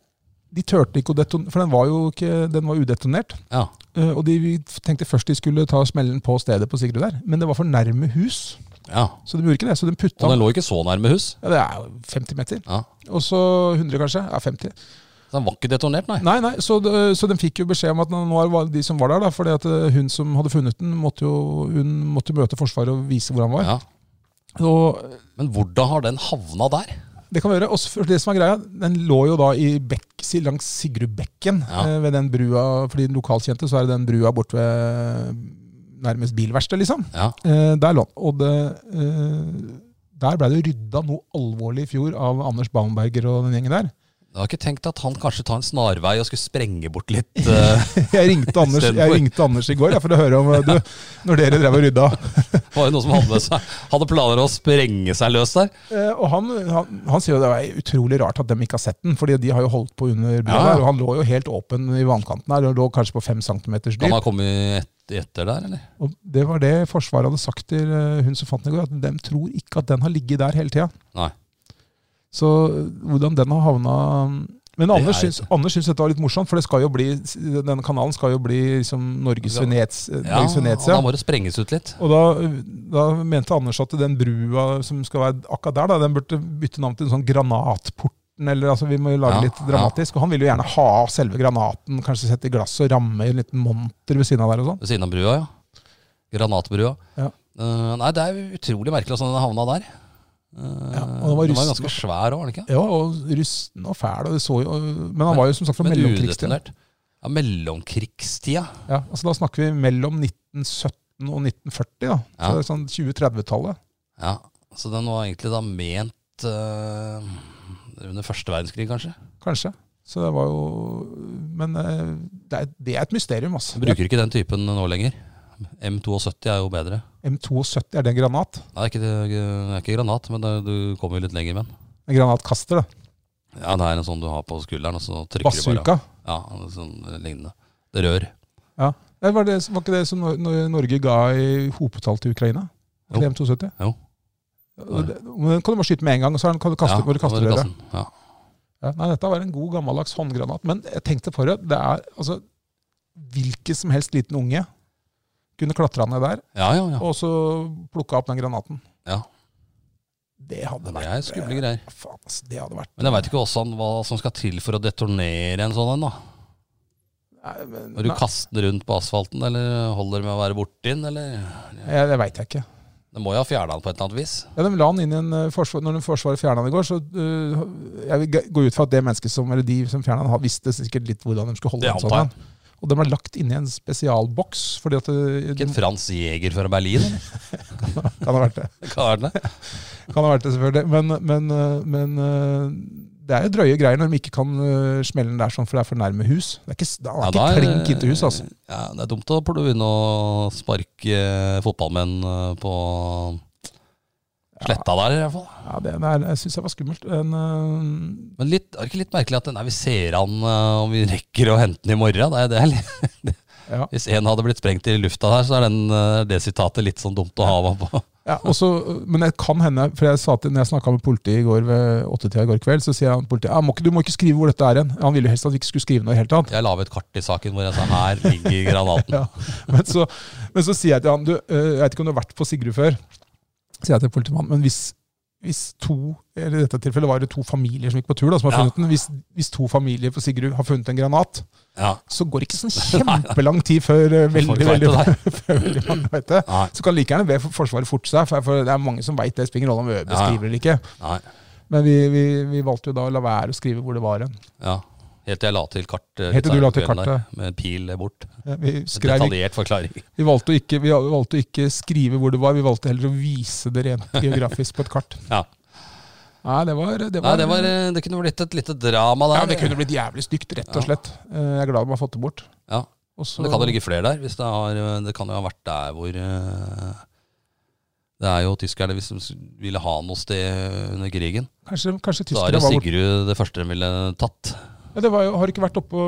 Speaker 2: De turte ikke å detonere, for den var jo ikke, den var udetonert.
Speaker 1: Ja.
Speaker 2: Eh, Og de vi tenkte først de skulle ta smellen på stedet på Sigrud der, men det var for nærme hus.
Speaker 1: ja.
Speaker 2: Så de gjorde ikke det. Så de putta
Speaker 1: Og den lå ikke så nærme hus.
Speaker 2: ja, Det er jo 50 meter.
Speaker 1: Ja.
Speaker 2: Og så 100, kanskje. Ja, 50.
Speaker 1: Så den var ikke detonert, nei.
Speaker 2: Nei, nei, så de, så de fikk jo beskjed om at nå var det de som var der, da, fordi at eh, hun som hadde funnet den, måtte jo hun måtte møte Forsvaret og vise hvor han var.
Speaker 1: Ja.
Speaker 2: Og eh,
Speaker 1: Men hvordan har den havna der?
Speaker 2: det kan vi gjøre. Og så- for det som er greia, den lå jo da i bekk, si- langs Sigrudbekken,
Speaker 1: Ja.
Speaker 2: eh, ved den brua, fordi den lokalkjente, så er det den brua borte ved nærmest bilverksted, liksom.
Speaker 1: Ja.
Speaker 2: Eh, der lå han. Og det, eh, der ble det rydda noe alvorlig i fjor av Anders Baumberger og den gjengen der.
Speaker 1: Jeg har ikke tenkt at han kanskje tar en snarvei og skulle sprenge bort litt. eh,
Speaker 2: Jeg ringte Anders, jeg
Speaker 1: Istedenfor.
Speaker 2: ringte Anders i går jeg, for å høre om eh, du, når dere drev og rydda.
Speaker 1: Det var jo noen som hadde, med seg, hadde planer om å sprenge seg løs der.
Speaker 2: Eh, og han, han, han sier jo det er utrolig rart at dem ikke har sett den, fordi de har jo holdt på under brua
Speaker 1: Ja.
Speaker 2: der. Og han lå jo helt åpen i vannkanten her, og lå kanskje på fem centimeters
Speaker 1: Han
Speaker 2: dyp.
Speaker 1: har kommet heftig etter der, eller?
Speaker 2: Og det var det Forsvaret hadde sagt til eh, hun som fant den i går, at de tror ikke at den har ligget der hele tida.
Speaker 1: Nei.
Speaker 2: Så eh, hvordan den har havna Men Anders
Speaker 1: er-
Speaker 2: syns, Anders syns dette var litt morsomt, for det skal jo bli, denne kanalen skal jo bli liksom Norges,
Speaker 1: Ja.
Speaker 2: Venez, Norges
Speaker 1: og
Speaker 2: Venezia.
Speaker 1: da må det sprenges ut litt.
Speaker 2: Og da, da mente Anders at den brua som skal være akkurat der, da, den burde bytte navn til en sånn Granatporten. Eller, altså, vi må jo lage
Speaker 1: Ja,
Speaker 2: litt dramatisk. Og han ville jo gjerne ha selve granaten, kanskje sette i glass og ramme i en liten monter ved siden av der. og sånn.
Speaker 1: Ved siden av brua, ja. Granatbrua.
Speaker 2: Ja.
Speaker 1: Eh, nei, det er jo utrolig merkelig hvordan den havna der. Eh,
Speaker 2: Ja, og den var
Speaker 1: den var
Speaker 2: rusten.
Speaker 1: ganske svær òg, var den ikke?
Speaker 2: Ja, og rusten og fæl. Og det så jo, men han var jo som sagt fra
Speaker 1: Men
Speaker 2: mellomkrigstida.
Speaker 1: udetonert. Ja, mellomkrigstida.
Speaker 2: Ja, altså da snakker vi mellom 1917 og 1940, da. Så
Speaker 1: Ja.
Speaker 2: det er sånn 20-30-tallet.
Speaker 1: Ja, Så den var egentlig da ment eh, under første verdenskrig, kanskje.
Speaker 2: Kanskje. Så det var jo Men eh, det er, det er et mysterium, altså.
Speaker 1: Så bruker ikke den typen nå lenger. M72 er jo bedre.
Speaker 2: M72, er det en granat?
Speaker 1: Nei, ikke, det er ikke granat, men det, du kommer jo litt lenger med den.
Speaker 2: En granatkaster, det.
Speaker 1: Ja, det er en sånn du har på skulderen, og så trykker du bare.
Speaker 2: Bazooka.
Speaker 1: Ja, en sånn lignende. Det rør.
Speaker 2: Nei, var, det, var ikke det som Nor- Nor- Norge ga i hopetall til Ukraina? Til
Speaker 1: Jo.
Speaker 2: M72?
Speaker 1: Jo.
Speaker 2: Og det- Men den kan du bare skyte med en gang, og så er den- kan du kaste
Speaker 1: ja,
Speaker 2: den når du kaster
Speaker 1: over
Speaker 2: røret.
Speaker 1: kassen. Ja.
Speaker 2: Ja, nei, dette var en god gammeldags håndgranat. Men jeg tenkte på det, det er altså Hvilken som helst liten unge kunne klatra ned der
Speaker 1: ja, ja, ja.
Speaker 2: og så plukka opp den granaten.
Speaker 1: Ja.
Speaker 2: Det hadde
Speaker 1: Det
Speaker 2: vært
Speaker 1: er skumle greier.
Speaker 2: eh, Faen, altså, det hadde vært
Speaker 1: Men jeg veit ikke også han- hva som skal til for å detonere en sånn en. da.
Speaker 2: Nei, men-
Speaker 1: Når du
Speaker 2: nei,
Speaker 1: kaster den rundt på asfalten, eller holder med å være borti den, eller
Speaker 2: jeg- Det veit jeg ikke.
Speaker 1: Det må jo ha fjerna den på et eller annet vis.
Speaker 2: Ja, de la han inn i en eh, forsvar, Når den Forsvaret fjerna den i går, så eh, jeg vil g- gå ut fra at det mennesket som, eller de som fjerna den, har- visste sikkert litt hvordan de skulle holde
Speaker 1: Det
Speaker 2: en
Speaker 1: antar
Speaker 2: sånn en. Og den ble lagt inn i en spesialboks, fordi at eh, det,
Speaker 1: Ikke en Frans Jæger fra Berlin? eller?
Speaker 2: kan ha vært det.
Speaker 1: Hva er det?
Speaker 2: Kan ha vært det, selvfølgelig. Men, men, øh, men øh, det er jo drøye greier når de ikke kan øh, smelle den der sånn, for det er for nærme hus. Det er ikke, det er
Speaker 1: Ja,
Speaker 2: ikke
Speaker 1: da er-
Speaker 2: klink inntil hus, altså.
Speaker 1: Ja, det er dumt å begynne å sparke eh, fotballmenn eh, på sletta der, i hvert fall.
Speaker 2: Ja, det, det er, jeg syns det var skummelt. En, øh,
Speaker 1: Men litt, er det ikke litt merkelig at nei, vi ser han eh, om vi rekker å hente den i morgen? Det er, det er litt,
Speaker 2: ja.
Speaker 1: hvis en hadde blitt sprengt i lufta der, så er den, eh, det sitatet litt sånn dumt å ha med på.
Speaker 2: Ja, og så- men det kan hende, for jeg sa til, når jeg snakka med politiet i går ved åttetida i går kveld, så sier han politiet ja, må ikke, du må ikke skrive hvor dette er hen. Han ville jo helst at vi ikke skulle skrive noe i det hele tatt.
Speaker 1: Jeg la ved et kart i saken hvor jeg sa her ligger granaten.
Speaker 2: Ja. Men, så, men så sier jeg til han du, øh, Jeg vet ikke om du har vært på Sigrud før, sier jeg til politimannen, men hvis, hvis to eller i dette tilfellet var det to familier som gikk på tur, da, som har
Speaker 1: Ja.
Speaker 2: funnet den, hvis, hvis to familier på Sigrud har funnet en granat,
Speaker 1: Ja.
Speaker 2: så går det ikke sånn kjempelang tid før øh,
Speaker 1: Folk vet
Speaker 2: veldig, veldig,
Speaker 1: det der.
Speaker 2: før veldig mange vet det.
Speaker 1: Nei,
Speaker 2: Så kan like gjerne be for- Forsvaret forte seg, for- for det er mange som veit det. Spiller ingen rolle om vi
Speaker 1: Ja, ja.
Speaker 2: beskriver det eller ikke.
Speaker 1: nei.
Speaker 2: Men vi, vi, vi valgte jo da å la være å skrive hvor det var hen.
Speaker 1: Ja. Helt til jeg la til kart. eh,
Speaker 2: Helt til du la til
Speaker 1: gitarkvelden der,
Speaker 2: kartet.
Speaker 1: Med en pil bort.
Speaker 2: Ja, Eh, Vi skrev
Speaker 1: Detaljert forklaring.
Speaker 2: Vi valgte, å ikke, vi valgte å ikke skrive hvor det var, vi valgte heller å vise det rent geografisk på et kart.
Speaker 1: Ja.
Speaker 2: Nei, det var Det,
Speaker 1: Nei,
Speaker 2: var,
Speaker 1: det, var, eh, det kunne blitt et lite drama der.
Speaker 2: ja, det kunne blitt jævlig stygt, rett og
Speaker 1: Ja.
Speaker 2: slett. Eh, Jeg er glad de har fått det bort.
Speaker 1: Ja.
Speaker 2: Og
Speaker 1: Men
Speaker 2: så-
Speaker 1: det kan jo ligge flere der. Hvis det, har, eh, det kan jo ha vært der hvor eh, Det er jo tyskerne hvis de s- ville ha noe sted under krigen.
Speaker 2: Kanskje, kanskje
Speaker 1: Så er det
Speaker 2: tyskerne var borte.
Speaker 1: Sigrud det første de ville tatt.
Speaker 2: Ja, det var jo, har det ikke vært oppe på,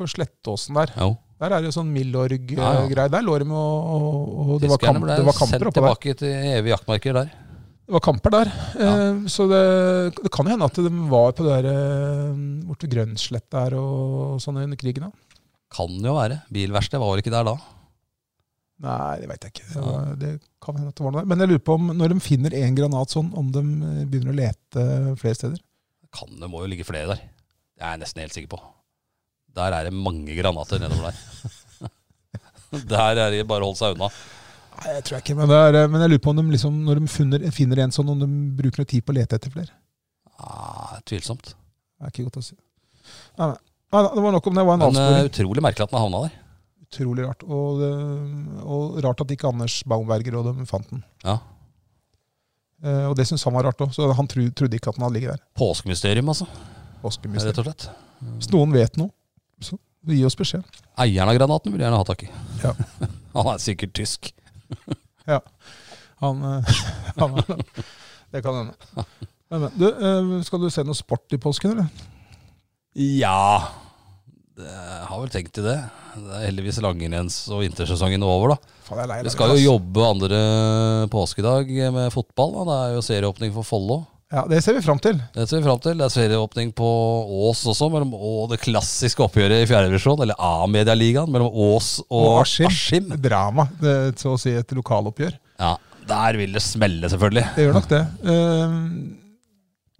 Speaker 2: på Slettåsen der.
Speaker 1: Jo.
Speaker 2: Der er det jo sånn
Speaker 1: Ja, ja.
Speaker 2: Milorg-greie. Der lå de og, og, og det, var
Speaker 1: Tyskerne
Speaker 2: kamp,
Speaker 1: ble
Speaker 2: det var
Speaker 1: sendt
Speaker 2: kamper oppå der.
Speaker 1: tilbake til evige jaktmarker der.
Speaker 2: Det var kamper der.
Speaker 1: Ja.
Speaker 2: Eh, Så det, det kan jo hende at de var på det der eh, borte ved Grønslett der og sånn under krigen. da.
Speaker 1: Kan jo være. Bilverkstedet var vel ikke der da.
Speaker 2: Nei, det veit jeg ikke. Det, var, det kan hende at det var noe der. Men jeg lurer på om når de finner én granat sånn, om de eh, begynner å lete flere steder.
Speaker 1: Kan det må jo ligge flere der. Det er jeg nesten helt sikker på. Der er det mange granater nedover der. der er det bare å holde seg unna.
Speaker 2: Nei, jeg tror jeg ikke, men, det er, eh, men jeg lurer på om de liksom, når de funner, finner en sånn, om de bruker noe tid på å lete etter flere.
Speaker 1: Ah, tvilsomt.
Speaker 2: Det er ikke godt å si. Nei, nei. Nei, nei, det var nok om det var en
Speaker 1: Men eh,
Speaker 2: avsporing.
Speaker 1: utrolig merkelig at den havna der.
Speaker 2: Utrolig rart. Og, det- og rart at ikke Anders Baumberger og dem fant den.
Speaker 1: Ja.
Speaker 2: Eh, Og det syntes han var rart òg, så han tru, trodde ikke at den hadde ligget der.
Speaker 1: Påskemysterium, altså.
Speaker 2: Påskemysterium.
Speaker 1: Rett og slett.
Speaker 2: Hvis noen vet noe, så gi oss beskjed.
Speaker 1: Eieren av granaten vil jeg gjerne ha tak i.
Speaker 2: Ja.
Speaker 1: Han er sikkert tysk.
Speaker 2: Han, eh, han er det. Det kan hende. Men, men, du, eh, skal du se noe sport i påsken, eller?
Speaker 1: Ja. Det- Jeg har vel tenkt til det. Det er heldigvis langrenns- og vintersesongen er over, da.
Speaker 2: Faen, jeg er lei
Speaker 1: Vi
Speaker 2: langrenn,
Speaker 1: skal
Speaker 2: ass.
Speaker 1: jo jobbe andre påskedag med fotball. Da. Det er jo serieåpning for Follo.
Speaker 2: Ja, det ser vi fram til.
Speaker 1: Det ser vi fram til. Det er serieåpning på Ås også, mellom, og det klassiske oppgjøret i fjerdedivisjon, eller A-medialigaen, mellom Ås og, Askim.
Speaker 2: Drama, det, så å si et lokaloppgjør.
Speaker 1: Ja, der vil det smelle, selvfølgelig.
Speaker 2: Det gjør nok det. Ehm,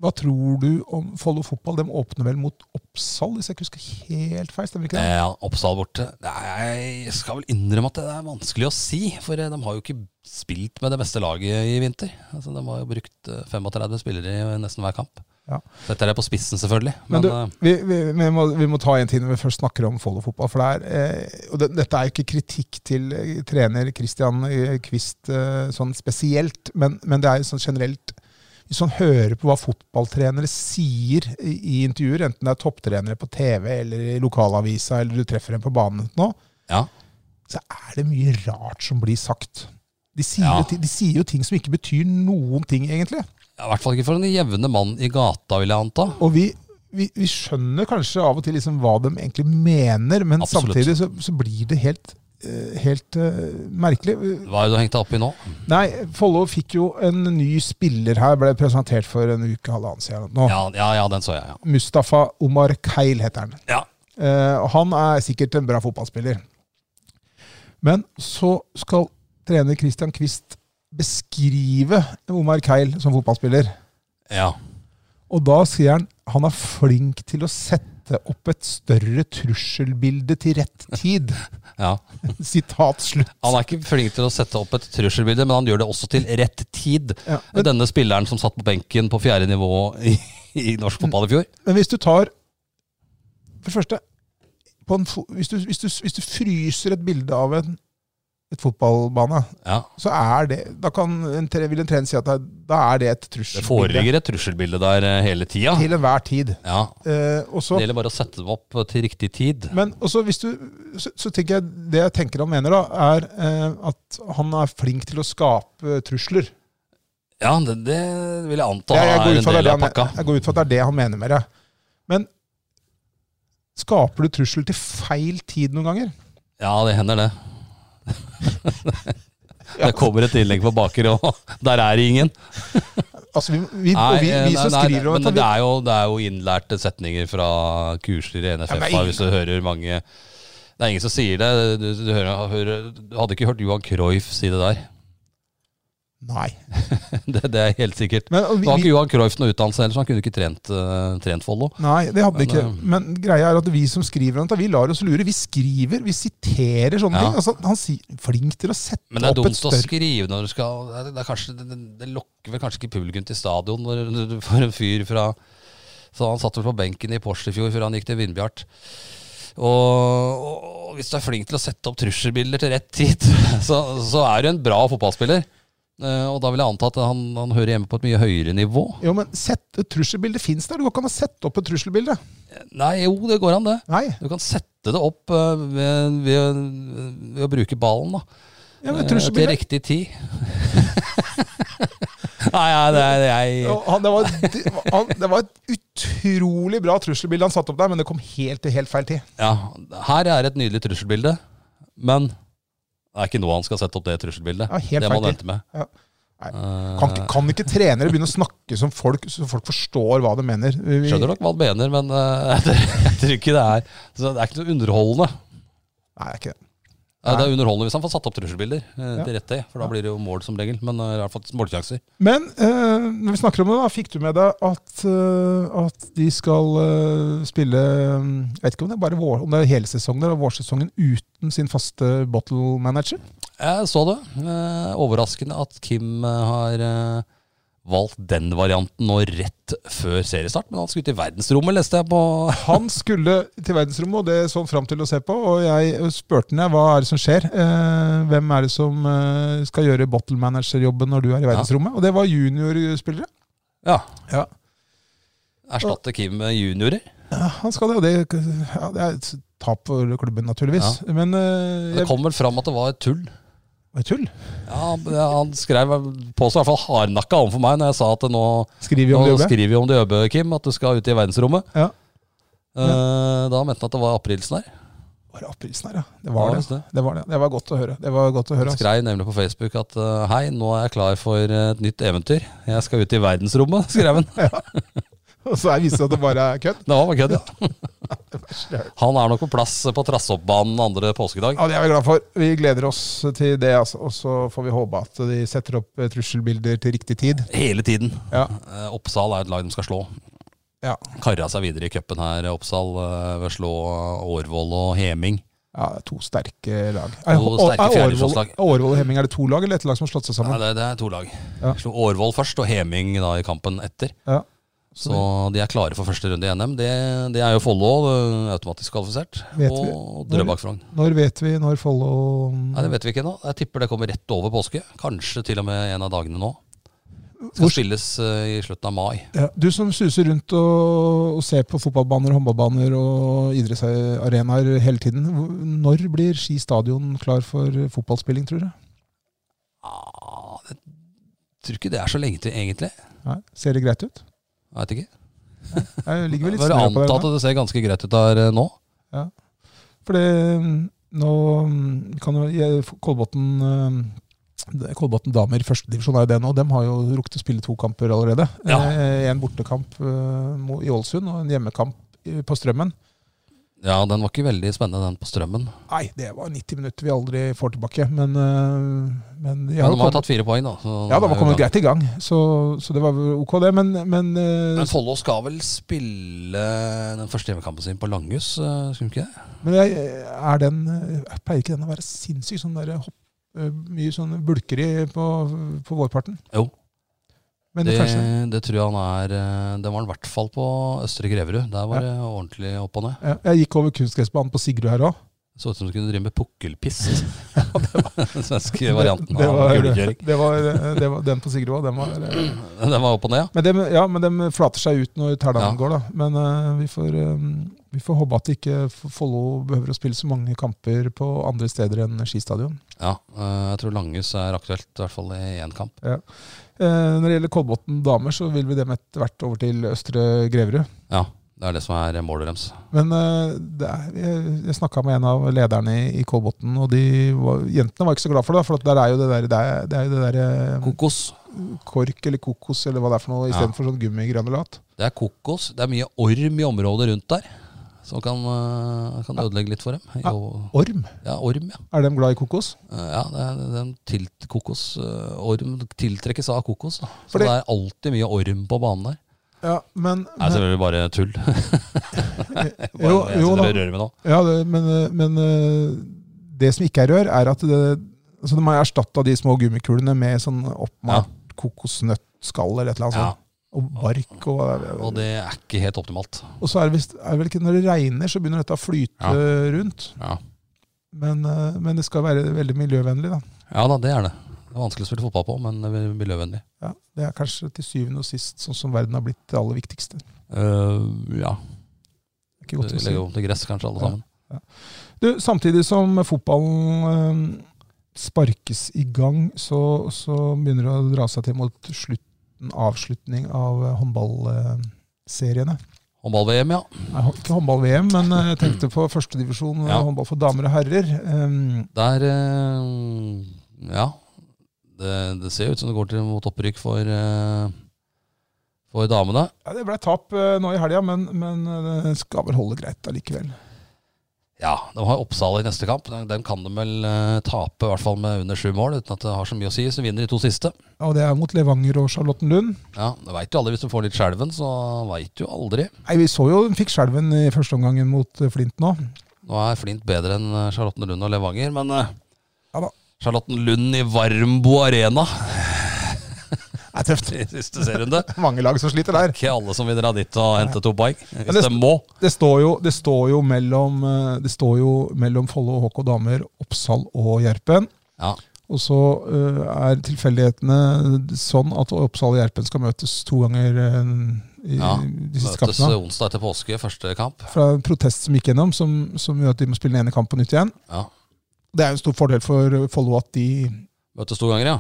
Speaker 2: hva tror du om Follo fotball? De åpner vel mot Oppsal, hvis jeg ikke husker helt feil? stemmer ikke det?
Speaker 1: Ja, Eh, Oppsal borte. Nei, Jeg skal vel innrømme at det er vanskelig å si, for eh, de har jo ikke spilt med det beste laget i vinter. Altså, de har jo brukt eh, 35 spillere i nesten hver kamp.
Speaker 2: Ja.
Speaker 1: Dette er på spissen, selvfølgelig.
Speaker 2: Men
Speaker 1: Men, eh,
Speaker 2: du, vi, vi, vi, må, vi må ta en ting når vi først snakker om Follo fotball. For det er, eh, og det, dette er jo ikke kritikk til eh, trener Christian eh, Kvist eh, sånn spesielt, men, men det er jo sånn generelt Hvis man hører på hva fotballtrenere sier i, i intervjuer, enten det er topptrenere på TV eller i lokalavisa eller du treffer dem på banen nå,
Speaker 1: ja.
Speaker 2: så er det mye rart som blir sagt. De sier,
Speaker 1: Ja.
Speaker 2: jo, ti- de sier jo ting som ikke betyr noen ting, egentlig.
Speaker 1: Ja, I hvert fall ikke for den jevne mann i gata, vil jeg anta.
Speaker 2: Og vi, vi, vi skjønner kanskje av og til liksom hva de egentlig mener, men
Speaker 1: Absolutt.
Speaker 2: samtidig så, så blir det helt, eh, helt eh, merkelig.
Speaker 1: Hva er det du har hengt deg opp i nå?
Speaker 2: Nei, Follo fikk jo en ny spiller her, ble presentert for en uke halvannen siden. Nå.
Speaker 1: Ja, ja, ja den så jeg, ja.
Speaker 2: Mustafa Omar Keil heter han.
Speaker 1: ja.
Speaker 2: Eh, og han er sikkert en bra fotballspiller. Men så skal trener Christian Quist beskrive Omar Keil som fotballspiller.
Speaker 1: Ja.
Speaker 2: Og da sier han han er flink til å sette opp et større trusselbilde til rett tid.
Speaker 1: ja.
Speaker 2: Sitat slutt.
Speaker 1: Han er ikke flink til å sette opp et trusselbilde, men han gjør det også til rett tid.
Speaker 2: Ja, men,
Speaker 1: Denne spilleren som satt på benken på fjerde nivå i, i norsk fotball i fjor.
Speaker 2: men hvis du tar For det første på en, fo- hvis, du, hvis, du, hvis du fryser et bilde av en et fotballbane,
Speaker 1: Ja.
Speaker 2: så er det Da kan en, tre- vil en trener si at det, er- da er det et
Speaker 1: Det
Speaker 2: trusselbilde.
Speaker 1: foreligger et trusselbilde der eh, hele tida.
Speaker 2: Til enhver tid.
Speaker 1: Ja.
Speaker 2: Eh, og så
Speaker 1: Det gjelder bare å sette dem opp til riktig tid.
Speaker 2: Men også hvis du, så, så tenker jeg, det jeg tenker han mener, da, er eh, at han er flink til å skape trusler.
Speaker 1: Ja, det, det vil jeg anta
Speaker 2: jeg, jeg,
Speaker 1: er
Speaker 2: går ut
Speaker 1: en
Speaker 2: fra det er
Speaker 1: del
Speaker 2: det
Speaker 1: av pakka.
Speaker 2: han, jeg går ut fra at det er det han mener med det. Men skaper du trussel til feil tid noen ganger?
Speaker 1: Ja, det hender det. Det kommer et innlegg på baker, og der er det ingen.
Speaker 2: Altså, vi, vi, og vi, vi som skriver
Speaker 1: eh,
Speaker 2: om
Speaker 1: men det
Speaker 2: dette,
Speaker 1: er, jo, det er jo innlærte setninger fra kurser i NFF,
Speaker 2: men ingen-
Speaker 1: hvis du hører mange Det er ingen som sier det. Du, du, hører, hører, du hadde ikke hørt Johan Cruyff si det der.
Speaker 2: vi, nei.
Speaker 1: Det, det er helt sikkert.
Speaker 2: Men, og
Speaker 1: Nå har
Speaker 2: vi,
Speaker 1: ikke Johan Cruyff noe utdannelse heller, så han kunne ikke trent, eh, trent Follo.
Speaker 2: vi, nei, det hadde
Speaker 1: Men,
Speaker 2: ikke.
Speaker 1: eh,
Speaker 2: Men greia er at vi som skriver om dette, vi lar oss lure. Vi skriver, vi siterer sånne
Speaker 1: Ja.
Speaker 2: ting. Altså, han sier flink til å sette
Speaker 1: Men det er
Speaker 2: opp et
Speaker 1: dumt å
Speaker 2: større
Speaker 1: skrive når du skal Det, det, er kanskje, det, det lokker vel kanskje ikke publikum til stadion når du får en fyr fra Så han satt vel på benken i Porsche i fjor før han gikk til Vindbjart. Og, og hvis du er flink til å sette opp trusselbilder til rett tid, så, så er du en bra fotballspiller. Eh, og da vil jeg anta at han, han hører hjemme på et mye høyere nivå.
Speaker 2: Jo, men sette, trusselbildet fins der. Det går ikke an å sette opp et trusselbilde.
Speaker 1: Nei, jo, det går an, det.
Speaker 2: Nei.
Speaker 1: Du kan sette det opp eh, ved, ved, ved å bruke ballen, da.
Speaker 2: Ja, men
Speaker 1: Eh, Til
Speaker 2: trusselbildet
Speaker 1: riktig tid. nei, nei, det er jeg
Speaker 2: Ja, han, det, var, det, han, det var et utrolig bra trusselbilde han satte opp der, men det kom helt til helt feil tid.
Speaker 1: ja, Her er et nydelig trusselbilde, men det er ikke nå han skal sette opp det trusselbildet.
Speaker 2: Ja, helt
Speaker 1: det må han
Speaker 2: feil
Speaker 1: vente med.
Speaker 2: Ja. Nei,
Speaker 1: Eh,
Speaker 2: Kan, ikke- kan ikke trenere begynne å snakke som folk, så folk forstår hva de mener? Vi-
Speaker 1: skjønner nok hva han mener, men eh, jeg tror ikke det er Så det er ikke noe underholdende.
Speaker 2: Nei, det er ikke det.
Speaker 1: Nei, Det
Speaker 2: Nei.
Speaker 1: er underholdende hvis han får satt opp trusselbilder eh,
Speaker 2: Ja.
Speaker 1: til rett tid, for da
Speaker 2: Ja.
Speaker 1: blir det jo mål som regel. Men eh, i hvert fall målsjanser.
Speaker 2: Men eh, når vi snakker om det, da, fikk du med deg at, eh, at de skal eh, spille mm, Jeg vet ikke om det er bare vår, om det er hele sesongen eller vårsesongen uten sin faste bottle manager?
Speaker 1: Jeg så det. Eh, overraskende at Kim eh, har eh, valgt den varianten nå rett før seriestart. Men han skulle ut i verdensrommet, leste jeg på.
Speaker 2: Han skulle til verdensrommet, og det så han fram til å se på. Og jeg spurte ham hva er det som skjer. Eh, hvem er det som eh, skal gjøre bottle manager-jobben når du er i verdensrommet? Og det var juniorspillere.
Speaker 1: Ja,
Speaker 2: Ja.
Speaker 1: Erstatte Kim med juniorer.
Speaker 2: Eh, Han skal det, og det, ja, det er et tap for klubben, naturligvis. Men eh,
Speaker 1: Det
Speaker 2: jeg,
Speaker 1: kom vel fram at det var tull.
Speaker 2: Oi, tull.
Speaker 1: Ja, Han han skrev på seg i hvert fall hardnakka overfor meg når jeg sa at nå,
Speaker 2: Skriver vi
Speaker 1: nå
Speaker 2: om det jobber?
Speaker 1: skriver vi om det jøbe, Kim, at du skal ut i verdensrommet.
Speaker 2: Ja.
Speaker 1: Eh, Da mente han at det var aprilsnarr.
Speaker 2: Var det aprilsen her, ja? Det var det.
Speaker 1: visst det.
Speaker 2: Det var, det. det var godt å høre. Det var godt å høre
Speaker 1: Han
Speaker 2: altså.
Speaker 1: skrev nemlig på Facebook at eh, hei, nå er jeg klar for eh, et nytt eventyr. Jeg skal ut i verdensrommet, skrev han.
Speaker 2: Og så viste det seg at det bare er kødd.
Speaker 1: Det var bare kødd, ja.
Speaker 2: Det verste jeg har hørt.
Speaker 1: Han er nok på plass på Trassoppbanen andre påskedag.
Speaker 2: Ja, det er vi glad for. Vi gleder oss til det, altså. Og så får vi håpe at de setter opp eh, trusselbilder til riktig tid.
Speaker 1: Hele tiden.
Speaker 2: Ja.
Speaker 1: Eh, Oppsal er et lag de skal slå.
Speaker 2: Ja.
Speaker 1: Karra seg videre i cupen her, Oppsal. eh, Ved å slå Årvoll og Heming.
Speaker 2: ja to sterke lag.
Speaker 1: To sterke fjerdedivisjonslag.
Speaker 2: Årvoll og Hemming, er det to lag eller ett lag som har slått seg
Speaker 1: Nei,
Speaker 2: sammen?
Speaker 1: det, det er to lag.
Speaker 2: Ja.
Speaker 1: Slo Årvoll først, og Heming da i kampen etter.
Speaker 2: Ja.
Speaker 1: Så de er klare for første runde i NM. Det, det er jo Follo eh, automatisk kvalifisert.
Speaker 2: Vet vi-
Speaker 1: Og Drøbak Frogn.
Speaker 2: Når vet vi når Follo
Speaker 1: Nei, Det vet vi ikke ennå. Jeg tipper det kommer rett over påske. Kanskje til og med en av dagene nå.
Speaker 2: Hvor-
Speaker 1: Skal spilles eh, i slutten av mai.
Speaker 2: Ja, du som suser rundt og, og ser på fotballbaner, håndballbaner og idrettsarenaer hele tiden. hvor- Når blir Ski stadion klar for fotballspilling, tror du?
Speaker 1: Ah, det, tror ikke det er så lenge til, egentlig.
Speaker 2: Nei, ser det greit ut?
Speaker 1: Jeg vet ikke.
Speaker 2: Jeg ligger vel litt
Speaker 1: Bare
Speaker 2: snø på
Speaker 1: anta
Speaker 2: det.
Speaker 1: at det ser ganske greit ut der eh, nå.
Speaker 2: For det, mm, nå mm, kan jo jeg- Kolbotn mm, det- Kolbotn damer i førstedivisjon er jo det nå. De har jo rukket å spille to kamper allerede.
Speaker 1: Ja.
Speaker 2: Eh, En bortekamp eh, mo- i Ålesund og en hjemmekamp eh, på Strømmen.
Speaker 1: Ja, den var ikke veldig spennende, den på Strømmen.
Speaker 2: Nei, det var 90 minutter vi aldri får tilbake. Men, eh, men de
Speaker 1: Men
Speaker 2: har jo
Speaker 1: de har
Speaker 2: kommet
Speaker 1: tatt fire poeng, da. så
Speaker 2: Ja, da
Speaker 1: det er
Speaker 2: var
Speaker 1: jo
Speaker 2: kommet
Speaker 1: bra.
Speaker 2: greit i gang, så, så det var vel ok, det. Men, men, eh,
Speaker 1: Men Follo skal vel spille den første hjemmekampen sin på Langhus, eh, skulle de ikke det?
Speaker 2: men jeg, er den jeg Pleier ikke den å være sinnssyk sånn der hopp, eh, mye sånn bulkeri på, på vårparten?
Speaker 1: Jo.
Speaker 2: Men
Speaker 1: Det,
Speaker 2: kanskje
Speaker 1: det tror jeg han er eh, Den var han i hvert fall på Østre Greverud. Der var det ordentlig opp og ned.
Speaker 2: ja, Jeg gikk over kunstgressbanen på Sigrud her òg.
Speaker 1: Så ut som du kunne drive med pukkelpist. Den svenske varianten
Speaker 2: det,
Speaker 1: av
Speaker 2: var-
Speaker 1: kulekjøring.
Speaker 2: det, var- eh, det var den på Sigrud òg. Den var eh,
Speaker 1: Den var opp og ned, ja.
Speaker 2: Men de, ja, men de flater seg ut når ternene
Speaker 1: Ja.
Speaker 2: går, da. Men eh, vi, får, eh, vi får håpe at ikke Follo behøver å spille så mange kamper på andre steder enn skistadion.
Speaker 1: ja. eh, Jeg tror Langhus er aktuelt, i hvert fall i én kamp.
Speaker 2: Eh, når det gjelder Kolbotn damer, så vil vi dem etter hvert over til Østre Greverud.
Speaker 1: Ja, det er det som er målet deres.
Speaker 2: Men eh, det er, jeg, jeg snakka med en av lederne i, i Kolbotn, og de var, jentene var ikke så glad for det. For at der er jo det der, det er, det er jo det der eh,
Speaker 1: Kokos.
Speaker 2: kork eller kokos eller hva det er for noe,
Speaker 1: Ja.
Speaker 2: istedenfor sånn gummigranulat.
Speaker 1: Det er kokos. Det er mye orm i området rundt der. Som kan, eh, kan ødelegge litt for dem. Jo,
Speaker 2: Orm?
Speaker 1: ja, orm, ja.
Speaker 2: Er de glad i kokos?
Speaker 1: Eh, ja det er, den tilt, kokos, eh, orm tiltrekkes av kokos. Da. Så
Speaker 2: Fordi-
Speaker 1: det er alltid mye orm på banen der.
Speaker 2: Ja, men,
Speaker 1: Det er selvfølgelig bare tull. Bare
Speaker 2: Eh, Jo,
Speaker 1: jeg
Speaker 2: jo
Speaker 1: sitter
Speaker 2: da.
Speaker 1: og rører meg nå.
Speaker 2: Ja, det, men, men eh, det som ikke er rør, er at det, altså de har erstatta de små gummikulene med sånn oppmalt kokosnøttskall eller et eller annet
Speaker 1: Ja,
Speaker 2: sånt. Og bark og,
Speaker 1: og det er ikke helt optimalt.
Speaker 2: Og så er det, visst, er det vel ikke når det regner, så begynner dette å flyte rundt.
Speaker 1: Ja.
Speaker 2: Men, eh, men det skal være veldig miljøvennlig, da.
Speaker 1: Ja da, det er det. Det er vanskelig å spille fotball på, men det er miljøvennlig.
Speaker 2: Ja, det er kanskje til syvende og sist sånn som verden har blitt det aller viktigste. Det
Speaker 1: Eh, ja,
Speaker 2: er ikke
Speaker 1: vi
Speaker 2: godt å si.
Speaker 1: legger om til gress kanskje alle
Speaker 2: Ja.
Speaker 1: sammen.
Speaker 2: Du, samtidig som fotballen eh, sparkes i gang, så, så begynner det å dra seg til mot slutten, avslutning av eh, håndballseriene.
Speaker 1: Håndball-VM, ja.
Speaker 2: Ikke håndball-VM, men eh, jeg tenkte på førstedivisjon
Speaker 1: Ja.
Speaker 2: ja. håndball for damer og herrer. Eh,
Speaker 1: Der eh, Ja. Det, det ser jo ut som det går til mot opprykk for, eh, for damene.
Speaker 2: ja, det ble tap eh, nå i helga, men, men eh, det skal vel holde greit allikevel.
Speaker 1: Ja, de har Oppsal i neste kamp. Den, den kan de vel eh, tape, i hvert fall med under sju mål, uten at det har så mye å si. Så vinner de to siste.
Speaker 2: Og det er mot Levanger og Charlottenlund.
Speaker 1: Ja, Det veit jo aldri hvis de får litt skjelven, så veit du aldri.
Speaker 2: Nei, Vi så jo hun fikk skjelven i første omgangen mot eh, Flint nå.
Speaker 1: Nå er Flint bedre enn eh, Charlottenlund og Levanger, men eh,
Speaker 2: Ja da.
Speaker 1: Charlottenlund i Varmbo Arena
Speaker 2: Det er tøft.
Speaker 1: i siste serierunde.
Speaker 2: Mange lag som sliter der.
Speaker 1: Ikke alle som vil dra dit og hente to poeng, hvis
Speaker 2: det-
Speaker 1: de må.
Speaker 2: Det står jo, det står jo mellom, eh, det står jo mellom Follo og HK Damer, Oppsal og Gjerpen.
Speaker 1: Ja,
Speaker 2: Og så eh, er tilfeldighetene sånn at Oppsal og Gjerpen skal møtes to ganger eh, i
Speaker 1: Ja,
Speaker 2: de siste
Speaker 1: Møtes eh,
Speaker 2: kampene.
Speaker 1: onsdag etter påske, første kamp.
Speaker 2: Fra en protest som gikk gjennom, som, som gjør at de må spille den ene kampen nytt igjen.
Speaker 1: Ja.
Speaker 2: Det er jo en stor fordel for Follo at de
Speaker 1: Møtes to ganger, ja.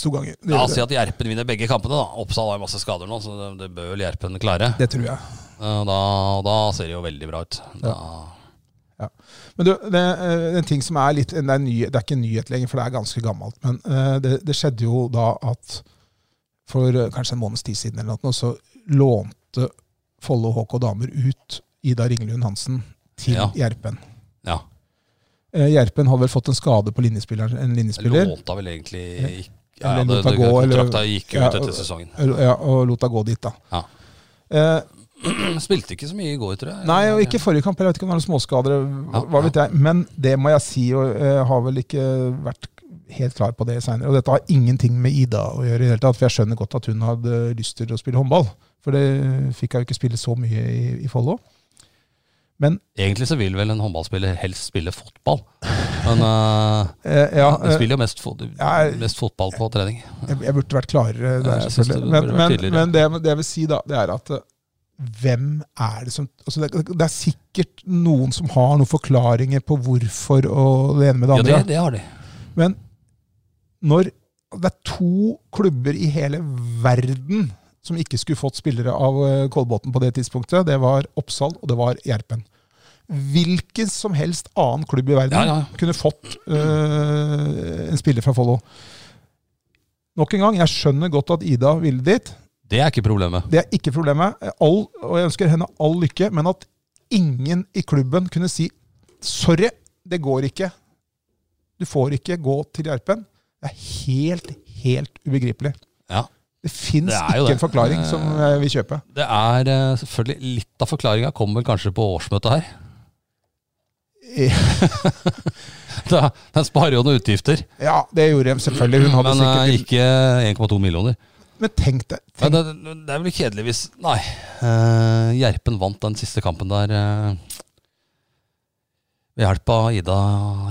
Speaker 2: to ganger. Det,
Speaker 1: La oss si at Gjerpen vinner begge kampene. da Oppsal har masse skader nå, så det, det bør vel Gjerpen klare.
Speaker 2: det tror jeg.
Speaker 1: Eh, Da, da ser det jo veldig bra ut. Da,
Speaker 2: Men du, det, eh, en ting som er litt det er, ny, det er ikke en nyhet lenger, for det er ganske gammelt. Men eh, det, det skjedde jo da at for eh, kanskje en måneds tid siden eller noe, så lånte Follo HK Damer ut Ida Ringelund Hansen til
Speaker 1: Ja.
Speaker 2: Gjerpen.
Speaker 1: Ja.
Speaker 2: Eh, Gjerpen hadde vel fått en skade på linjespilleren, en linjespiller.
Speaker 1: Låta vel egentlig ikke ja, ja,
Speaker 2: Eller
Speaker 1: det,
Speaker 2: lot det
Speaker 1: det,
Speaker 2: gå, eller-
Speaker 1: Kontrakta gikk ut
Speaker 2: Ja,
Speaker 1: etter
Speaker 2: og-
Speaker 1: sesongen.
Speaker 2: eh, Ja, og lot henne gå dit, da.
Speaker 1: Ja.
Speaker 2: Eh,
Speaker 1: Spilte ikke så mye i går, tror jeg.
Speaker 2: Nei, og ikke forrige kamp. Jeg vet ikke om det var noen småskader. hva-
Speaker 1: eh, Ja,
Speaker 2: Hva vet jeg. Men det må jeg si, og jeg har vel ikke vært helt klar på det seinere. Og dette har ingenting med Ida å gjøre i det hele tatt, for jeg skjønner godt at hun hadde lyst til å spille håndball. For det fikk jeg jo ikke spille så mye i, i Follo.
Speaker 1: Egentlig så vil vel en håndballspiller helst spille fotball. Men eh,
Speaker 2: Eh, ja,
Speaker 1: han
Speaker 2: eh,
Speaker 1: spiller jo mest, fot
Speaker 2: Ja, jeg-
Speaker 1: mest fotball på trening.
Speaker 2: jeg, jeg burde vært klarere
Speaker 1: Ja,
Speaker 2: der,
Speaker 1: jeg synes det
Speaker 2: selvfølgelig.
Speaker 1: burde vært
Speaker 2: Men, men,
Speaker 1: tydeligere.
Speaker 2: men det, det jeg vil si, da, det er at eh, hvem er det som altså det, det er sikkert noen som har noen forklaringer på hvorfor og det ene med det
Speaker 1: Ja,
Speaker 2: andre.
Speaker 1: det, det har de.
Speaker 2: Men når det er to klubber i hele verden som ikke skulle fått spillere av eh, Kolbotn på det tidspunktet, det var Oppsal og det var Gjerpen. Hvilken som helst annen klubb i verden
Speaker 1: Ja, ja.
Speaker 2: kunne fått eh, en spiller fra Follo. Nok en gang, jeg skjønner godt at Ida ville dit.
Speaker 1: Det er ikke problemet.
Speaker 2: Det er ikke problemet. All, og jeg ønsker henne all lykke, men at ingen i klubben kunne si sorry, det går ikke. Du får ikke gå til Gjerpen. Det er helt, helt ubegripelig.
Speaker 1: Ja.
Speaker 2: Det fins
Speaker 1: Det er
Speaker 2: ikke
Speaker 1: jo det. Eh.
Speaker 2: en forklaring som jeg vil kjøpe.
Speaker 1: Det er eh, selvfølgelig Litt av forklaringa kommer vel kanskje på årsmøtet her. Da, den sparer jo noen utgifter,
Speaker 2: Ja, det gjorde de selvfølgelig. Hun hadde
Speaker 1: men eh,
Speaker 2: sikkert
Speaker 1: ikke 1,2 millioner.
Speaker 2: Men tenk deg
Speaker 1: Ja,
Speaker 2: tenk,
Speaker 1: det, det er vel kjedelig hvis Nei. eh, Gjerpen vant den siste kampen der eh, ved hjelp av Ida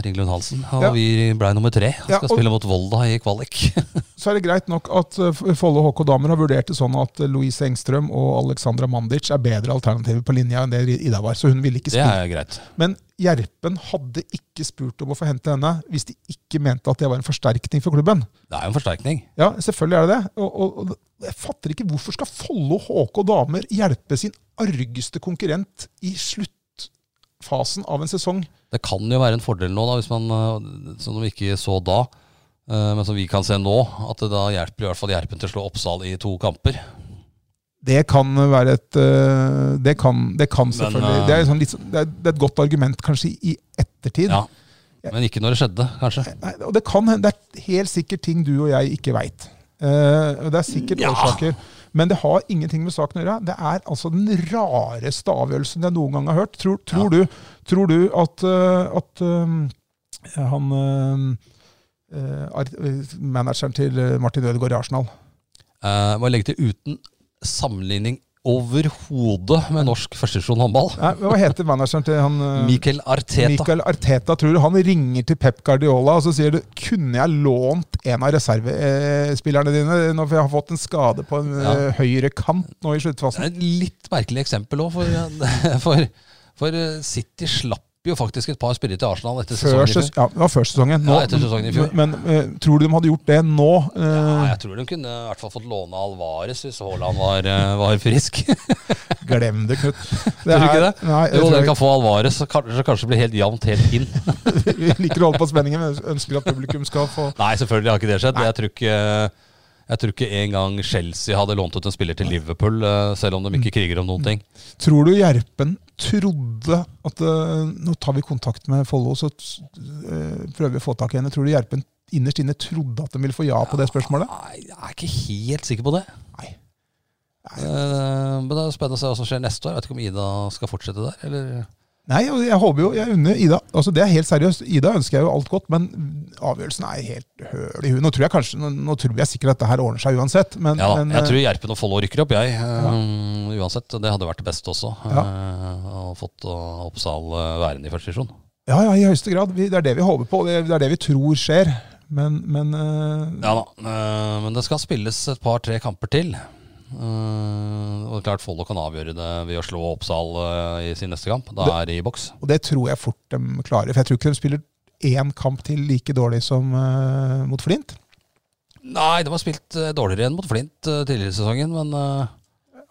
Speaker 1: Ringlund Hansen. Og
Speaker 2: Ja.
Speaker 1: vi blei nummer tre. Skal
Speaker 2: Ja, og-
Speaker 1: spille mot Volda i kvalik.
Speaker 2: Så er det greit nok at eh, Follo HK Damer har vurdert det sånn at eh, Louise Engstrøm og Alexandra Mandic er bedre alternativer på linja enn det Ida var, så hun ville ikke
Speaker 1: Det
Speaker 2: spille.
Speaker 1: er greit.
Speaker 2: Men Gjerpen hadde ikke spurt om å få hente henne hvis de ikke mente at det var en forsterkning for klubben.
Speaker 1: Det er jo en forsterkning.
Speaker 2: Ja, selvfølgelig er det det. Og, og, og jeg fatter ikke hvorfor skal Follo HK damer hjelpe sin argeste konkurrent i sluttfasen av en sesong?
Speaker 1: Det kan jo være en fordel nå, da, hvis man, eh, som vi ikke så da, eh, men som vi kan se nå, at det da hjelper i hvert fall Gjerpen til å slå Oppsal i to kamper.
Speaker 2: Det kan være et øh, Det kan, det kan selvfølgelig
Speaker 1: øh,
Speaker 2: det, er sånn litt, sånn- det, er, det er et godt argument kanskje i ettertid.
Speaker 1: Ja. Men ikke når det skjedde, kanskje.
Speaker 2: Nei, og det kan hende. Det er helt sikkert ting du og jeg ikke veit. Eh, og det er sikkert
Speaker 1: Ja.
Speaker 2: årsaker. Men det har ingenting med saken å gjøre. Det er altså den rareste avgjørelsen jeg noen gang har hørt. Tror, tror, du, tror du at, eh, at eh, han eh, eh, ar- eh, Manageren til eh, Martin Ødegaard i Arsenal
Speaker 1: Eh, må jeg legge til uten sammenligning overhodet med norsk førstesjon håndball.
Speaker 2: Nei, Hva heter manageren til han eh,
Speaker 1: Mikael Arteta.
Speaker 2: Michael Arteta tror du han ringer til Pep Guardiola og så sier du, kunne jeg lånt en av reservespillerne dine nå for jeg har fått en skade på en
Speaker 1: Ja.
Speaker 2: eh, høyre kant nå i
Speaker 1: Det
Speaker 2: sluttfasen?
Speaker 1: er et litt merkelig eksempel òg, for, eh, for, for eh, City slapp jo faktisk et par spillere til Arsenal etter
Speaker 2: Før,
Speaker 1: sesongen. i fjor.
Speaker 2: ses- ja, det var før sesongen.
Speaker 1: Ja, etter sesongen i fjor.
Speaker 2: Men, men, eh, tror du de hadde gjort det nå?
Speaker 1: Ja,
Speaker 2: Eh,
Speaker 1: jeg tror de kunne i hvert fall fått låne Alvarez hvis Haaland var, eh, var frisk.
Speaker 2: glem det, Knut.
Speaker 1: Tror du ikke det?
Speaker 2: Nei,
Speaker 1: Jo,
Speaker 2: jeg
Speaker 1: dere
Speaker 2: tror
Speaker 1: kan få Alvarez, så kanskje, så kanskje det blir helt jevnt helt inn.
Speaker 2: ikke- vi liker å holde på spenningen, men ønsker at publikum skal få
Speaker 1: Nei, selvfølgelig har ikke det skjedd. Jeg tror ikke, jeg tror ikke engang Chelsea hadde lånt ut en spiller til Liverpool, eh, selv om de
Speaker 2: Mm.
Speaker 1: ikke kriger om noen ting.
Speaker 2: Tror du Gjerpen trodde at eh, Nå tar vi kontakt med Follo, så eh, prøver vi å få tak i henne. Tror du Gjerpen innerst inne trodde at de ville få ja på det spørsmålet?
Speaker 1: Nei, jeg er ikke helt sikker på det.
Speaker 2: Nei.
Speaker 1: Eh, Men det er spennende å se hva som skjer neste år. Jeg vet ikke om Ida skal fortsette der, eller
Speaker 2: Nei, og jeg håper jo Jeg unner Ida Altså, det er helt seriøst. Ida ønsker jeg jo alt godt, men avgjørelsen er helt høl i huet. Nå tror jeg kanskje Nå, nå tror jeg sikkert at dette her ordner seg uansett, men,
Speaker 1: Ja da,
Speaker 2: men, eh,
Speaker 1: jeg tror Gjerpen og Follo rykker opp, jeg. Eh, Uansett, det hadde vært det beste også.
Speaker 2: Ja.
Speaker 1: Eh, Og fått eh, Oppsal eh, værende i første divisjon.
Speaker 2: ja, ja, i høyeste grad. Vi, det er det vi håper på, og det, det er det vi tror skjer. Men, men eh,
Speaker 1: Ja da, eh, men det skal spilles et par-tre kamper til. Eh, Og det er klart Follo kan avgjøre det ved å slå Oppsal eh, i sin neste kamp. Da er det i boks.
Speaker 2: Og det tror jeg fort de klarer. For jeg tror ikke de spiller én kamp til like dårlig som eh, mot Flint.
Speaker 1: Nei, de har spilt eh, dårligere enn mot Flint eh, tidligere i sesongen, men eh,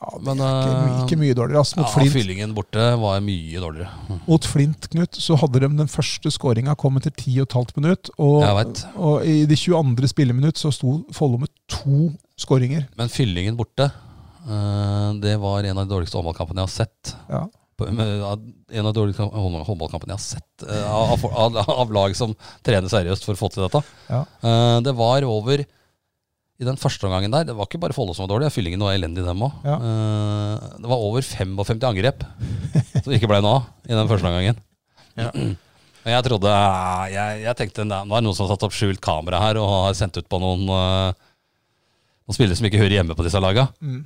Speaker 2: Ja, det
Speaker 1: Men,
Speaker 2: er ikke, my-
Speaker 1: eh,
Speaker 2: ikke mye dårligere. Altså,
Speaker 1: Ja,
Speaker 2: mot, Flint,
Speaker 1: Fyllingen borte var mye dårligere.
Speaker 2: mot Flint, Knut, så hadde de den første skåringa kommet til 10,5 minutt. Og,
Speaker 1: Jeg vet.
Speaker 2: og i det 22. spilleminutt så sto Follo med to skåringer.
Speaker 1: Men fyllingen borte, eh, det var en av de dårligste håndballkampene jeg har sett.
Speaker 2: Ja.
Speaker 1: På- med- av- En av de dårligste hånd- håndballkampene jeg har sett eh, av, av- av, av lag som trener seriøst for å få til dette.
Speaker 2: Ja.
Speaker 1: Eh, Det var over i den første omgangen der. Det var ikke bare Follo som var dårlig, fyllingen var elendig, dem òg.
Speaker 2: Ja.
Speaker 1: Det var over 55 angrep som ikke ble noe av i den første omgangen.
Speaker 2: Ja.
Speaker 1: Men Jeg trodde eh, jeg, jeg tenkte "Nei, nå er det noen som har satt opp skjult kamera her og har sendt ut på noen, eh, noen spillere som ikke hører hjemme på disse laga.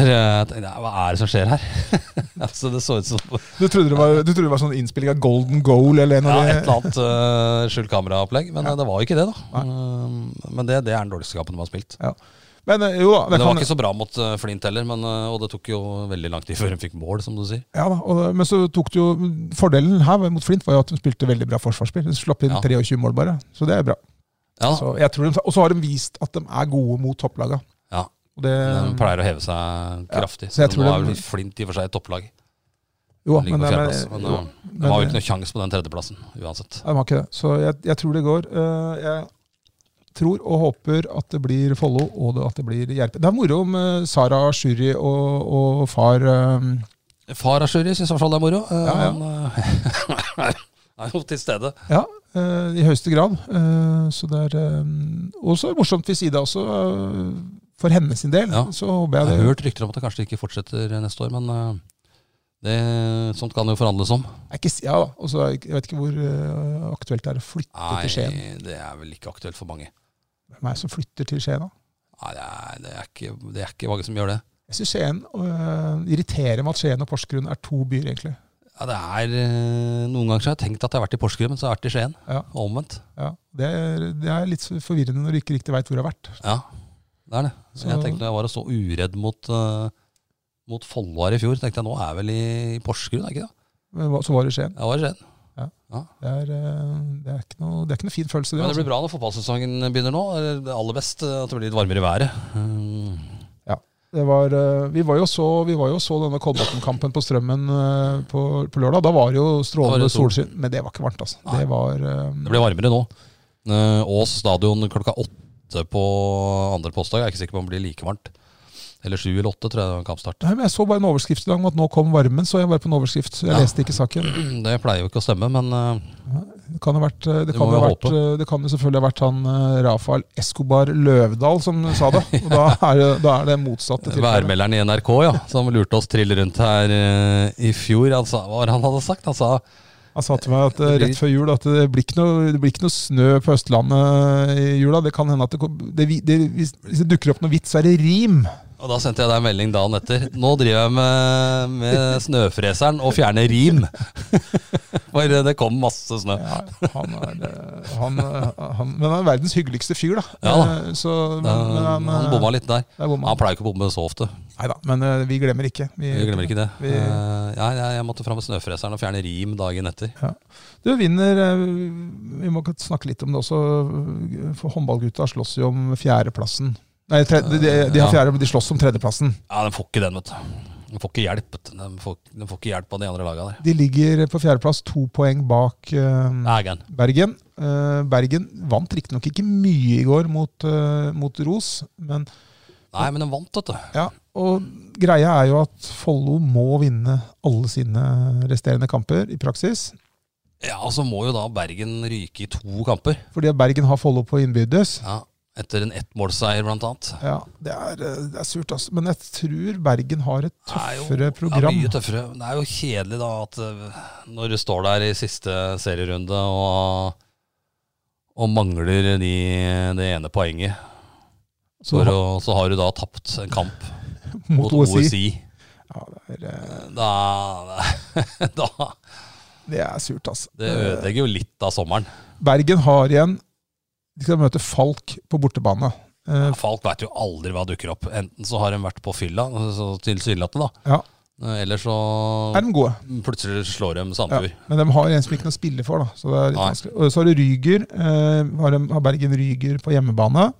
Speaker 1: Hvor jeg tenkte, "Nei, Hva er det som skjer her? altså, det så ut som
Speaker 2: Du trodde det var, du trodde det var sånn innspilling av Golden Goal
Speaker 1: ja,
Speaker 2: eller noe?
Speaker 1: et eller annet eh, skjult kameraopplegg, men eh, det var jo ikke det, da.
Speaker 2: Nei.
Speaker 1: Eh, men det, det er den dårligste kampen de har spilt.
Speaker 2: Men eh, jo da, det
Speaker 1: Men det var
Speaker 2: kan,
Speaker 1: ikke så bra mot eh, Flint heller, men, eh, og det tok jo veldig lang tid før hun fikk mål, som du sier.
Speaker 2: ja da, og, men så tok det jo Fordelen her mot Flint var jo at de spilte veldig bra forsvarsspill. De slapp inn
Speaker 1: Ja.
Speaker 2: 23 mål, bare. Så det er bra.
Speaker 1: Ja,
Speaker 2: Så jeg tror de, og så har de vist at de er gode mot topplaga.
Speaker 1: Ja.
Speaker 2: Og det,
Speaker 1: Hun pleier å heve seg
Speaker 2: eh, Ja,
Speaker 1: kraftig.
Speaker 2: så jeg
Speaker 1: så
Speaker 2: tror
Speaker 1: nå er
Speaker 2: den-
Speaker 1: vel Flint i og for seg et topplag.
Speaker 2: jo,
Speaker 1: Den ligger på
Speaker 2: det-
Speaker 1: fjerdeplass, men,
Speaker 2: jo,
Speaker 1: eh,
Speaker 2: men
Speaker 1: De har jo
Speaker 2: det-
Speaker 1: ikke noe sjanse på den tredjeplassen, uansett.
Speaker 2: Nei, De har ikke det. Så jeg, jeg tror det går. Eh, Jeg tror og håper at det blir Follo og det- at det blir Jerpe. Det er moro om eh, Sara Sjuri og, og far eh,
Speaker 1: Far Ashuri syns i hvert fall det er moro. Eh,
Speaker 2: Ja, ja.
Speaker 1: Han eh, er jo til stede.
Speaker 2: Ja, eh, i høyeste grad. Eh, så det er eh, også morsomt ved sida også. eh, for hennes sin del,
Speaker 1: Ja.
Speaker 2: så håper
Speaker 1: Jeg
Speaker 2: jeg det.
Speaker 1: har hørt rykter om at det kanskje ikke fortsetter neste år, men eh, det, sånt kan jo forhandles om.
Speaker 2: Jeg, ikke, ja, da. Og så er jeg ikke- jeg vet ikke hvor eh, aktuelt det er å flytte til Skien.
Speaker 1: Nei, det er vel ikke aktuelt for mange.
Speaker 2: Hvem er det som flytter til Skien, da?
Speaker 1: Nei, det er, det er, ikke, det er ikke mange som gjør det.
Speaker 2: Jeg syns Skien eh, irriterer meg at Skien og Porsgrunn er to byer, egentlig.
Speaker 1: Ja, det er eh, Noen ganger så har jeg tenkt at jeg har vært i Porsgrunn, men så har jeg vært i Skien.
Speaker 2: Ja.
Speaker 1: Og Omvendt.
Speaker 2: Ja, det, er, det er litt så forvirrende når du ikke riktig veit hvor du har vært.
Speaker 1: Ja, det er det.
Speaker 2: Så-
Speaker 1: Jeg tenkte når jeg var så uredd mot, uh, mot Follo her i fjor, tenkte jeg nå er jeg vel i, i Porsgrunn, er jeg ikke det?
Speaker 2: Men hva- så var det i Skien.
Speaker 1: Jeg var i Skien.
Speaker 2: Det er, eh, det er, ikke, noe, det er ikke noe fin følelse, det.
Speaker 1: Men det
Speaker 2: Altså.
Speaker 1: blir bra når fotballsesongen begynner nå. eller Det aller best eh, at det blir litt varmere i været. Mm.
Speaker 2: Det var, eh, vi, var jo så, vi var jo så denne Kolbotn-kampen på Strømmen eh, på, på lørdag. Da var det jo
Speaker 1: Da var
Speaker 2: strålende
Speaker 1: det sol.
Speaker 2: solskinn, men det var ikke varmt, altså.
Speaker 1: Nei.
Speaker 2: Det var eh,
Speaker 1: Det blir varmere nå. Eh, Ås stadion klokka åtte på andre postdag. Jeg er ikke sikker på om det blir like varmt. Eller sju eller åtte, tror jeg det var kampstart.
Speaker 2: Nei, men Jeg så bare en overskrift i dag om at nå kom varmen. Så jeg bare på en overskrift. Jeg
Speaker 1: Ja.
Speaker 2: leste ikke saken.
Speaker 1: Det pleier jo ikke å stemme, men eh,
Speaker 2: Det kan jo ha vært, eh, det
Speaker 1: Det
Speaker 2: kan
Speaker 1: må
Speaker 2: jo
Speaker 1: vi
Speaker 2: ha vært, eh, det kan jo selvfølgelig ha vært han eh, Rafael Escobar Løvdahl som sa det. Og da er, det- da er det motsatte tilfellet.
Speaker 1: Værmelderen i NRK, ja, som lurte oss trill rundt her eh, i fjor. Han sa, hva var det han hadde sagt? Han sa
Speaker 2: Han sa til meg at eh,
Speaker 1: Det blir-
Speaker 2: rett før jul at det blir ikke noe, det blir ikke noe snø på Østlandet eh, i jula. Det kan hende at det, kom- det, vi- det, hvis, hvis det dukker opp noe vits, så er det rim.
Speaker 1: Og da sendte jeg deg en melding dagen etter. Nå driver jeg med, med snøfreseren og fjerner rim. For det kom masse snø.
Speaker 2: Ja, han er, eh, han, eh, han, men han er verdens hyggeligste fyr, da.
Speaker 1: Ja
Speaker 2: Eh, Så, men,
Speaker 1: Da,
Speaker 2: men han, eh,
Speaker 1: han bomma litt der. Han
Speaker 2: bomma.
Speaker 1: pleier ikke å bomme så ofte.
Speaker 2: Nei da, men eh, vi glemmer ikke.
Speaker 1: Vi glemmer ikke det.
Speaker 2: Vi-
Speaker 1: Eh, ja, jeg, jeg måtte fram med snøfreseren og fjerne rim dagen etter.
Speaker 2: Du vinner eh, Vi må ikke snakke litt om det også. For håndballgutta slåss jo om fjerdeplassen. Nei, tre, de, de, de, har
Speaker 1: Ja.
Speaker 2: fjerde, de slåss om tredjeplassen.
Speaker 1: Ja, Den får ikke den, vet du. Den får ikke hjelp. vet du. Den får, den får ikke hjelp av de andre laga der.
Speaker 2: De ligger på fjerdeplass, to poeng bak eh,
Speaker 1: Ægern.
Speaker 2: Bergen. Eh, Bergen vant riktignok ikke mye i går mot, eh, mot Ros, men
Speaker 1: Nei, men den vant, vet du.
Speaker 2: ja. Og greia er jo at Follo må vinne alle sine resterende kamper, i praksis.
Speaker 1: Ja, og så må jo da Bergen ryke i to kamper.
Speaker 2: Fordi at Bergen har Follo på innbyrdes.
Speaker 1: Ja, Etter en ettmålseier, blant annet.
Speaker 2: Ja, det er, eh, det er surt, altså. Men jeg tror Bergen har et
Speaker 1: Det er jo-
Speaker 2: tøffere
Speaker 1: Ja,
Speaker 2: program.
Speaker 1: mye tøffere. Men Det er jo kjedelig da at eh, når du står der i siste serierunde og, og mangler de, det ene poenget, for
Speaker 2: Så
Speaker 1: å, så har du da tapt en kamp mot
Speaker 2: mot, OSI.
Speaker 1: OSI.
Speaker 2: Ja, det, er, eh,
Speaker 1: Da, da
Speaker 2: det er surt, altså.
Speaker 1: Det ødelegger jo litt av sommeren.
Speaker 2: Bergen har igjen De skal møte Falk på bortebane. Eh,
Speaker 1: Falk veit jo aldri hva dukker opp. Enten så har de vært på fylla, så tilsynelatende, da.
Speaker 2: Ja.
Speaker 1: Eh, Eller så
Speaker 2: er de gode?
Speaker 1: plutselig slår de
Speaker 2: Ja,
Speaker 1: Sandefjord.
Speaker 2: men de har en som ikke kan spille for, da. Så det er litt
Speaker 1: Nei.
Speaker 2: vanskelig. Og så har du Ryger. Eh, har, de, har Bergen Ryger på hjemmebane.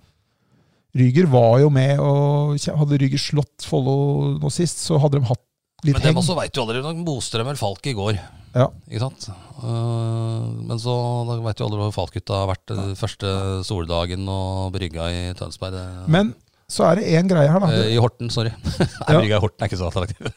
Speaker 2: Ryger var jo med, og kje- hadde Ryger slått Follo nå sist, så hadde de hatt litt
Speaker 1: Men dem
Speaker 2: heng.
Speaker 1: også veit du aldri når Bostrøm eller Falk i går.
Speaker 2: Ja.
Speaker 1: Ikke sant? Eh, men så da veit du aldri hvor Falk-gutta har vært eh, første soldagen og brygga i Tønsberg. det-
Speaker 2: Men så er det én greie her, da.
Speaker 1: Eh,
Speaker 2: Det-
Speaker 1: I Horten, sorry. Nei,
Speaker 2: Ja.
Speaker 1: brygga i Horten er ikke så attraktiv.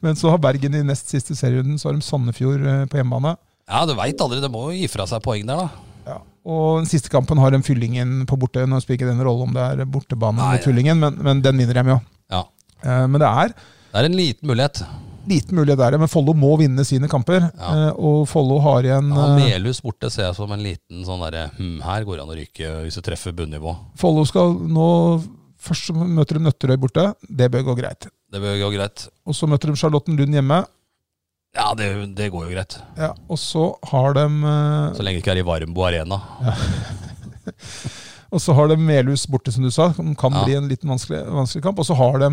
Speaker 2: Men så har Bergen i nest siste serierunden, så har de Sandefjord eh, på hjemmebane.
Speaker 1: Ja, du veit aldri. Det må jo gi fra seg poeng der, da.
Speaker 2: Ja. Og den siste kampen har de Fyllingen på borte. Nå spiller ikke det en rolle om det er bortebane
Speaker 1: Nei,
Speaker 2: mot Fyllingen, men, men den vinner de jo.
Speaker 1: Ja.
Speaker 2: Eh, Men det er
Speaker 1: Det er en liten mulighet.
Speaker 2: liten mulighet der, men Follo må vinne sine kamper.
Speaker 1: Ja.
Speaker 2: Eh, Og Follo har igjen
Speaker 1: Ja, og
Speaker 2: eh,
Speaker 1: Melhus borte ser jeg som en liten sånn derre hm, her går det an å ryke hvis du treffer bunnivå.
Speaker 2: Follo skal nå Først så møter de Nøtterøy borte. Det bør gå greit.
Speaker 1: Det bør gå greit.
Speaker 2: Og så møter de Charlottenlund hjemme.
Speaker 1: Ja, det, det går jo greit.
Speaker 2: Ja, og så har de eh,
Speaker 1: Så lenge det ikke er i Varmbo arena.
Speaker 2: Og så har de Melhus borte, som du sa. som kan
Speaker 1: Ja.
Speaker 2: bli en liten vanskelig, vanskelig kamp. Og så har de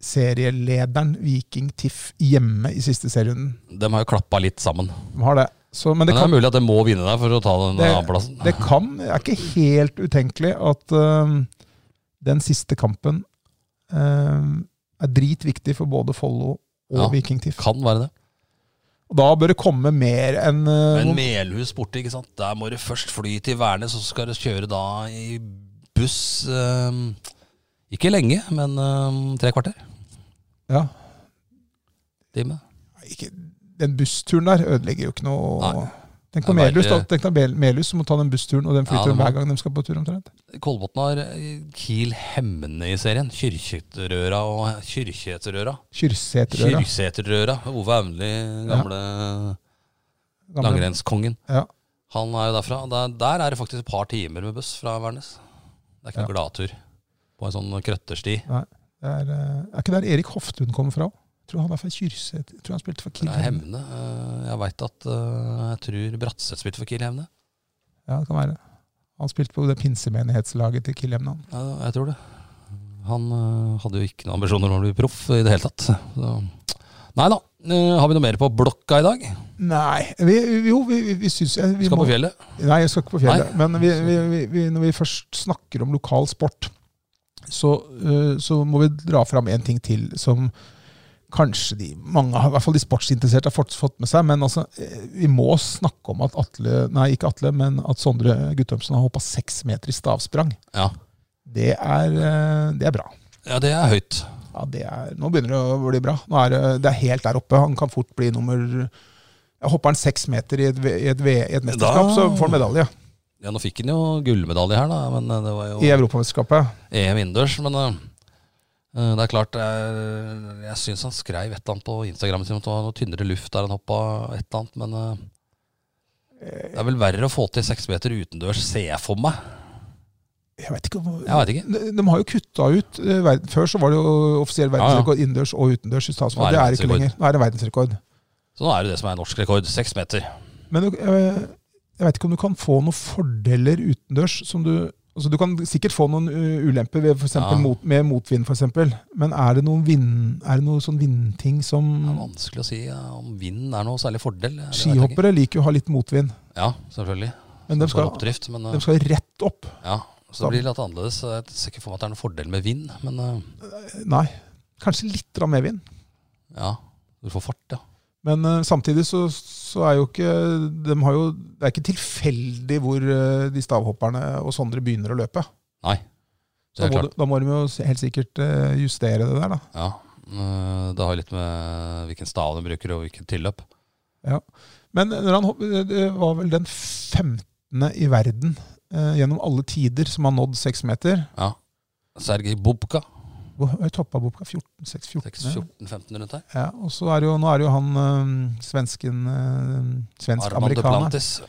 Speaker 2: serielederen Viking Tiff hjemme i siste serierunden.
Speaker 1: De har jo klappa litt sammen.
Speaker 2: De har det. Så,
Speaker 1: Men
Speaker 2: men det
Speaker 1: det er
Speaker 2: kan,
Speaker 1: mulig at de må vinne der for å ta den
Speaker 2: Det-
Speaker 1: andreplassen.
Speaker 2: det kan Det er ikke helt utenkelig at eh, den siste kampen eh, er dritviktig for både Follo og
Speaker 1: Ja.
Speaker 2: Viking Tiff.
Speaker 1: Kan være det.
Speaker 2: Og da bør det komme mer enn eh,
Speaker 1: Men Melhus borte, ikke sant. Der må du først fly til Værnes, og så skal du kjøre da i buss ehm, Ikke lenge, men ehm, tre kvarter.
Speaker 2: ja,
Speaker 1: Time.
Speaker 2: ikke, Den bussturen der ødelegger jo ikke noe
Speaker 1: Nei.
Speaker 2: Tenk på
Speaker 1: Det er
Speaker 2: Melhus, da.
Speaker 1: bare-
Speaker 2: Tenk deg Mel- Melhus som må ta den bussturen og
Speaker 1: Ja,
Speaker 2: den
Speaker 1: det
Speaker 2: flyturen
Speaker 1: må-
Speaker 2: hver gang de skal på tur, omtrent.
Speaker 1: Kolbotn har eh, Kiel Hemmene i serien. Kyrkjeterøra og Kyrkjeterøra.
Speaker 2: Kyrseterøra.
Speaker 1: Kyrkjeterøra. Ove Aunli, gamle
Speaker 2: gamle-
Speaker 1: langrennskongen.
Speaker 2: Ja.
Speaker 1: Han er jo derfra. Der, der er det faktisk et par timer med buss fra Værnes. Det er ikke noen gladtur på en sånn krøttersti.
Speaker 2: Det er, eh, er ikke der Erik Hoftun kommer fra? Jeg tror han er fra Kyrset. Jeg tror han spilte for
Speaker 1: Det er
Speaker 2: Kilheim.
Speaker 1: Hemne. Eh, Jeg veit at eh, Jeg tror Bratseth spilte for Kiel Hemne.
Speaker 2: Ja, det kan være. Han spilte på det pinsemenighetslaget til Kilheim. da.
Speaker 1: Ja, jeg tror det. Han eh, hadde jo ikke noen ambisjoner om å bli proff i det hele tatt. Så. Nei da. Eh, Har vi noe mer på blokka i dag?
Speaker 2: Nei vi, Jo, vi, vi, vi syns jeg- vi
Speaker 1: Skal
Speaker 2: må-
Speaker 1: på fjellet.
Speaker 2: Nei, jeg skal ikke på fjellet. Men vi, vi, vi, vi, når vi først snakker om lokal sport, så, eh, så må vi dra fram en ting til som kanskje de mange, har- i hvert fall de sportsinteresserte, har fått, fått med seg. Men altså, eh, vi må snakke om at Atle, nei, ikke Atle, men at Sondre Guttormsen har hoppa seks meter i stavsprang.
Speaker 1: Ja.
Speaker 2: Det er, eh, det er bra.
Speaker 1: ja, det er høyt.
Speaker 2: Ja, det er, nå begynner det å bli bra. Nå er det, det er helt der oppe. Han kan fort bli nummer ja, Hopper han seks meter i et, V- i et, V- i et mesterskap,
Speaker 1: Da-
Speaker 2: så får han medalje
Speaker 1: Ja, Nå fikk han jo gullmedalje her, da, men eh, det var jo
Speaker 2: i Europamesterskapet.
Speaker 1: EM innendørs. Men eh, eh, det er klart Jeg, jeg syns han skrev et eller annet på Instagram sin om at det var noe tynnere luft der han hoppa et eller annet, men eh,
Speaker 2: Eh,
Speaker 1: det er vel verre å få til seks meter utendørs, ser jeg for meg.
Speaker 2: Jeg vet ikke hvor-
Speaker 1: Jeg veit ikke.
Speaker 2: de, de har jo kutta ut eh, verden- Før så var det jo offisiell
Speaker 1: ja.
Speaker 2: verdensrekord innendørs og utendørs i
Speaker 1: Nå er
Speaker 2: statsmål.
Speaker 1: det
Speaker 2: Det er det ikke
Speaker 1: verdensrekord.
Speaker 2: lenger. Nå er det verdensrekord.
Speaker 1: Så nå er det det som er norsk rekord. Seks meter.
Speaker 2: Men du, eh, jeg vet ikke om du kan få noen fordeler utendørs som du Altså, du kan sikkert få noen eh, ulemper ved for eksempel
Speaker 1: Ja.
Speaker 2: mot, med motvind, f.eks. Men er det noen vind, er det noe sånn vindting som
Speaker 1: Det er vanskelig å si eh, om vinden er noe særlig fordel. Det vet jeg ikke.
Speaker 2: Skihoppere liker jo å ha litt motvind,
Speaker 1: Ja, selvfølgelig.
Speaker 2: men de skal,
Speaker 1: For oppdrift, men eh,
Speaker 2: de skal rett opp.
Speaker 1: ja. Så det blir litt annerledes. Jeg ser ikke for meg at det er noen fordel med vind, men eh,
Speaker 2: Nei, kanskje litt grann mer vind.
Speaker 1: ja. Du får fart, ja.
Speaker 2: Men eh, samtidig så, så er jo ikke de har jo, Det er ikke tilfeldig hvor eh, de stavhopperne og Sondre begynner å løpe.
Speaker 1: Nei.
Speaker 2: Så
Speaker 1: Det
Speaker 2: da
Speaker 1: er
Speaker 2: må,
Speaker 1: klart.
Speaker 2: du- da må de jo s- helt sikkert eh, justere det der, da.
Speaker 1: Ja. Eh, Det har jo litt med hvilken stav de bruker, og hvilket tilløp.
Speaker 2: Men når han, hopp- eh, det var vel den 15. i verden eh, gjennom alle tider som har nådd seks meter.
Speaker 1: Sergej Bubka.
Speaker 2: Hvor høyt hoppa Bobka? 14? 6, 14?
Speaker 1: 6-14-15 rundt her.
Speaker 2: Ja, og så er det jo, nå er det jo han eh, svensken eh,
Speaker 1: Armand
Speaker 2: Svensk-amerikaner.
Speaker 1: Duplantis.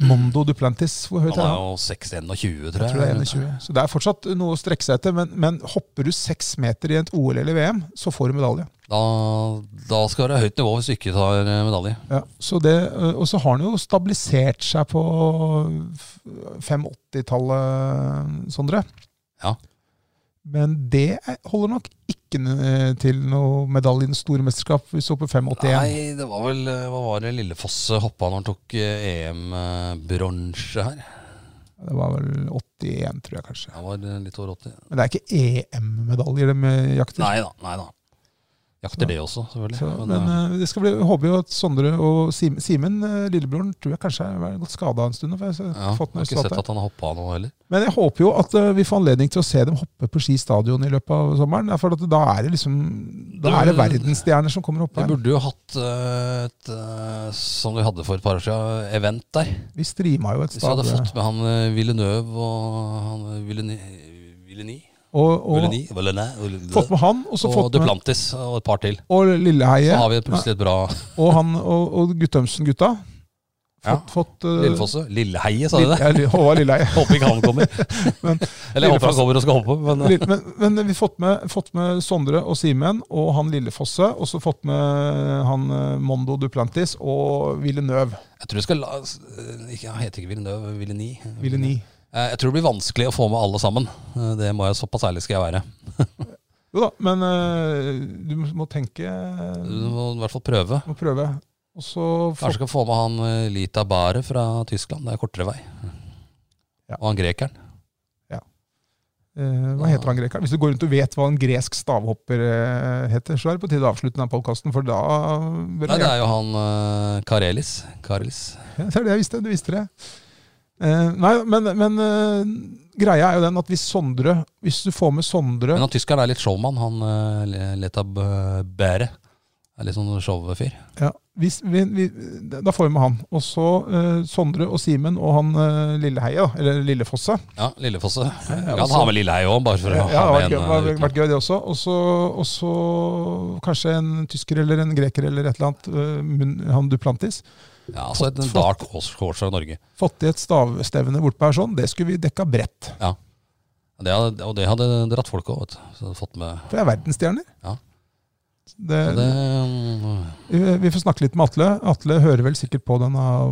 Speaker 2: Mondo Duplantis. Hvor høyt
Speaker 1: Han er
Speaker 2: er han?
Speaker 1: jo 6-21, tror jeg.
Speaker 2: Jeg tror det er 21. Så det er fortsatt noe å strekke seg etter, men, men hopper du seks meter i et OL eller VM, så får du medalje.
Speaker 1: Da, da skal det være høyt nivå hvis du ikke tar eh, medalje.
Speaker 2: Ja, så det, øh, og så har han jo stabilisert seg på 580-tallet, Sondre.
Speaker 1: Ja.
Speaker 2: Men det holder nok ikke eh, til noe medalje i det store mesterskap. Vi så på 581.
Speaker 1: Nei, det var vel eh, Hva var det Lillefoss hoppa når han tok eh, EM-bronse her?
Speaker 2: Det var vel 81, tror jeg kanskje.
Speaker 1: Jeg var eh, litt over 80.
Speaker 2: Men det er ikke EM-medaljer de eh, jakter.
Speaker 1: Nei da. nei da. Jakter det også, selvfølgelig.
Speaker 2: Så,
Speaker 1: men,
Speaker 2: men
Speaker 1: eh,
Speaker 2: eh, det skal bli, jeg håper jo at Sondre og Sim, Simen, eh, lillebroren, tror jeg kanskje har vært skada en stund. nå, For jeg har
Speaker 1: ja, jeg
Speaker 2: eh, fått noen
Speaker 1: har ikke sett
Speaker 2: resultater.
Speaker 1: at han har hoppa nå heller.
Speaker 2: Men jeg håper jo at eh, vi får anledning til å se dem hoppe på Ski stadion i løpet av sommeren. ja, For at da er det liksom Da er det verdensstjerner som kommer opp
Speaker 1: Vi
Speaker 2: her.
Speaker 1: burde jo hatt eh, et, eh, som vi hadde for et par år siden, event der.
Speaker 2: Vi streama jo et
Speaker 1: Hvis vi hadde
Speaker 2: stad.
Speaker 1: fått med han eh, Villeneuve og han eh, Villeni- Villeni
Speaker 2: Og, og,
Speaker 1: Villeni- Villeneuve,
Speaker 2: fått med han, og så
Speaker 1: og
Speaker 2: fått med
Speaker 1: Duplantis og et par til.
Speaker 2: og Lilleheie.
Speaker 1: Så har vi plutselig et bra
Speaker 2: Og han og, og Guttormsen-gutta.
Speaker 1: Ja.
Speaker 2: Fått, fått eh,
Speaker 1: Lillefosse. Lilleheie, sa de
Speaker 2: Lille-
Speaker 1: det?
Speaker 2: ja, Lille- Håvard Lilleheie.
Speaker 1: Håper ikke han kommer.
Speaker 2: Men
Speaker 1: Eller jeg håper
Speaker 2: Lillefoss-
Speaker 1: han kommer og skal hoppe, men eh,
Speaker 2: Lille- Men, men vi har fått med, fått med Sondre og Simen og han Lillefosse. Og så fått med han eh, Mondo Duplantis og Villeneuve.
Speaker 1: jeg tror vi skal la eh, ikke- Han heter ikke Villeneuve, Villeni.
Speaker 2: Villeni.
Speaker 1: Eh, Jeg tror det blir vanskelig å få med alle sammen. Eh, Det må jeg Såpass ærlig skal jeg være.
Speaker 2: Jo da, men eh, du må tenke
Speaker 1: Du
Speaker 2: Du
Speaker 1: må i hvert fall prøve.
Speaker 2: må prøve. Og så fått,
Speaker 1: Kanskje kan få med han eh, Lita Bære fra Tyskland. Det er kortere vei.
Speaker 2: Ja.
Speaker 1: Og han grekeren.
Speaker 2: eh, Hva heter han grekeren? Hvis du går rundt og vet hva en gresk stavhopper eh, heter, så er det på tide å avslutte denne podkasten, for da bør
Speaker 1: Nei, det
Speaker 2: jeg
Speaker 1: er jo han eh, Karelis. Karelis.
Speaker 2: Ja, Det er det jeg visste. Du visste det. Eh, nei, men, men eh, greia er jo den at hvis Sondre Hvis du får med Sondre
Speaker 1: Men han tyskeren er litt showman, han eh, Le- Leta B- Bære. Er litt sånn showfyr.
Speaker 2: ja, hvis, vi, vi, Da får vi med han. Og så eh, Sondre og Simen og han eh, Lilleheie, da. Eller Lillefosse.
Speaker 1: Ja, Lillefosse. Vi
Speaker 2: ja,
Speaker 1: kan ha med Lilleheie òg, bare for å
Speaker 2: Ja, det
Speaker 1: ha
Speaker 2: har vært,
Speaker 1: med
Speaker 2: gøy,
Speaker 1: en
Speaker 2: vært,
Speaker 1: eh,
Speaker 2: vært gøy, det også. Og så og så kanskje en tysker eller en greker eller et eller annet. eh, Mun- han Duplantis.
Speaker 1: uten- Ja, altså et en
Speaker 2: Flott.
Speaker 1: dark horse horse fra Norge.
Speaker 2: Fått i et stavstevne bortpå her sånn. Det skulle vi dekka bredt.
Speaker 1: Det hadde, og det hadde dratt folk òg, vet du. Så hadde fått med
Speaker 2: For jeg er verdensstjerner.
Speaker 1: Ja.
Speaker 2: Det,
Speaker 1: Så det, mm,
Speaker 2: Vi vi får snakke litt med Atle. Atle hører vel sikkert på denne
Speaker 1: Ja,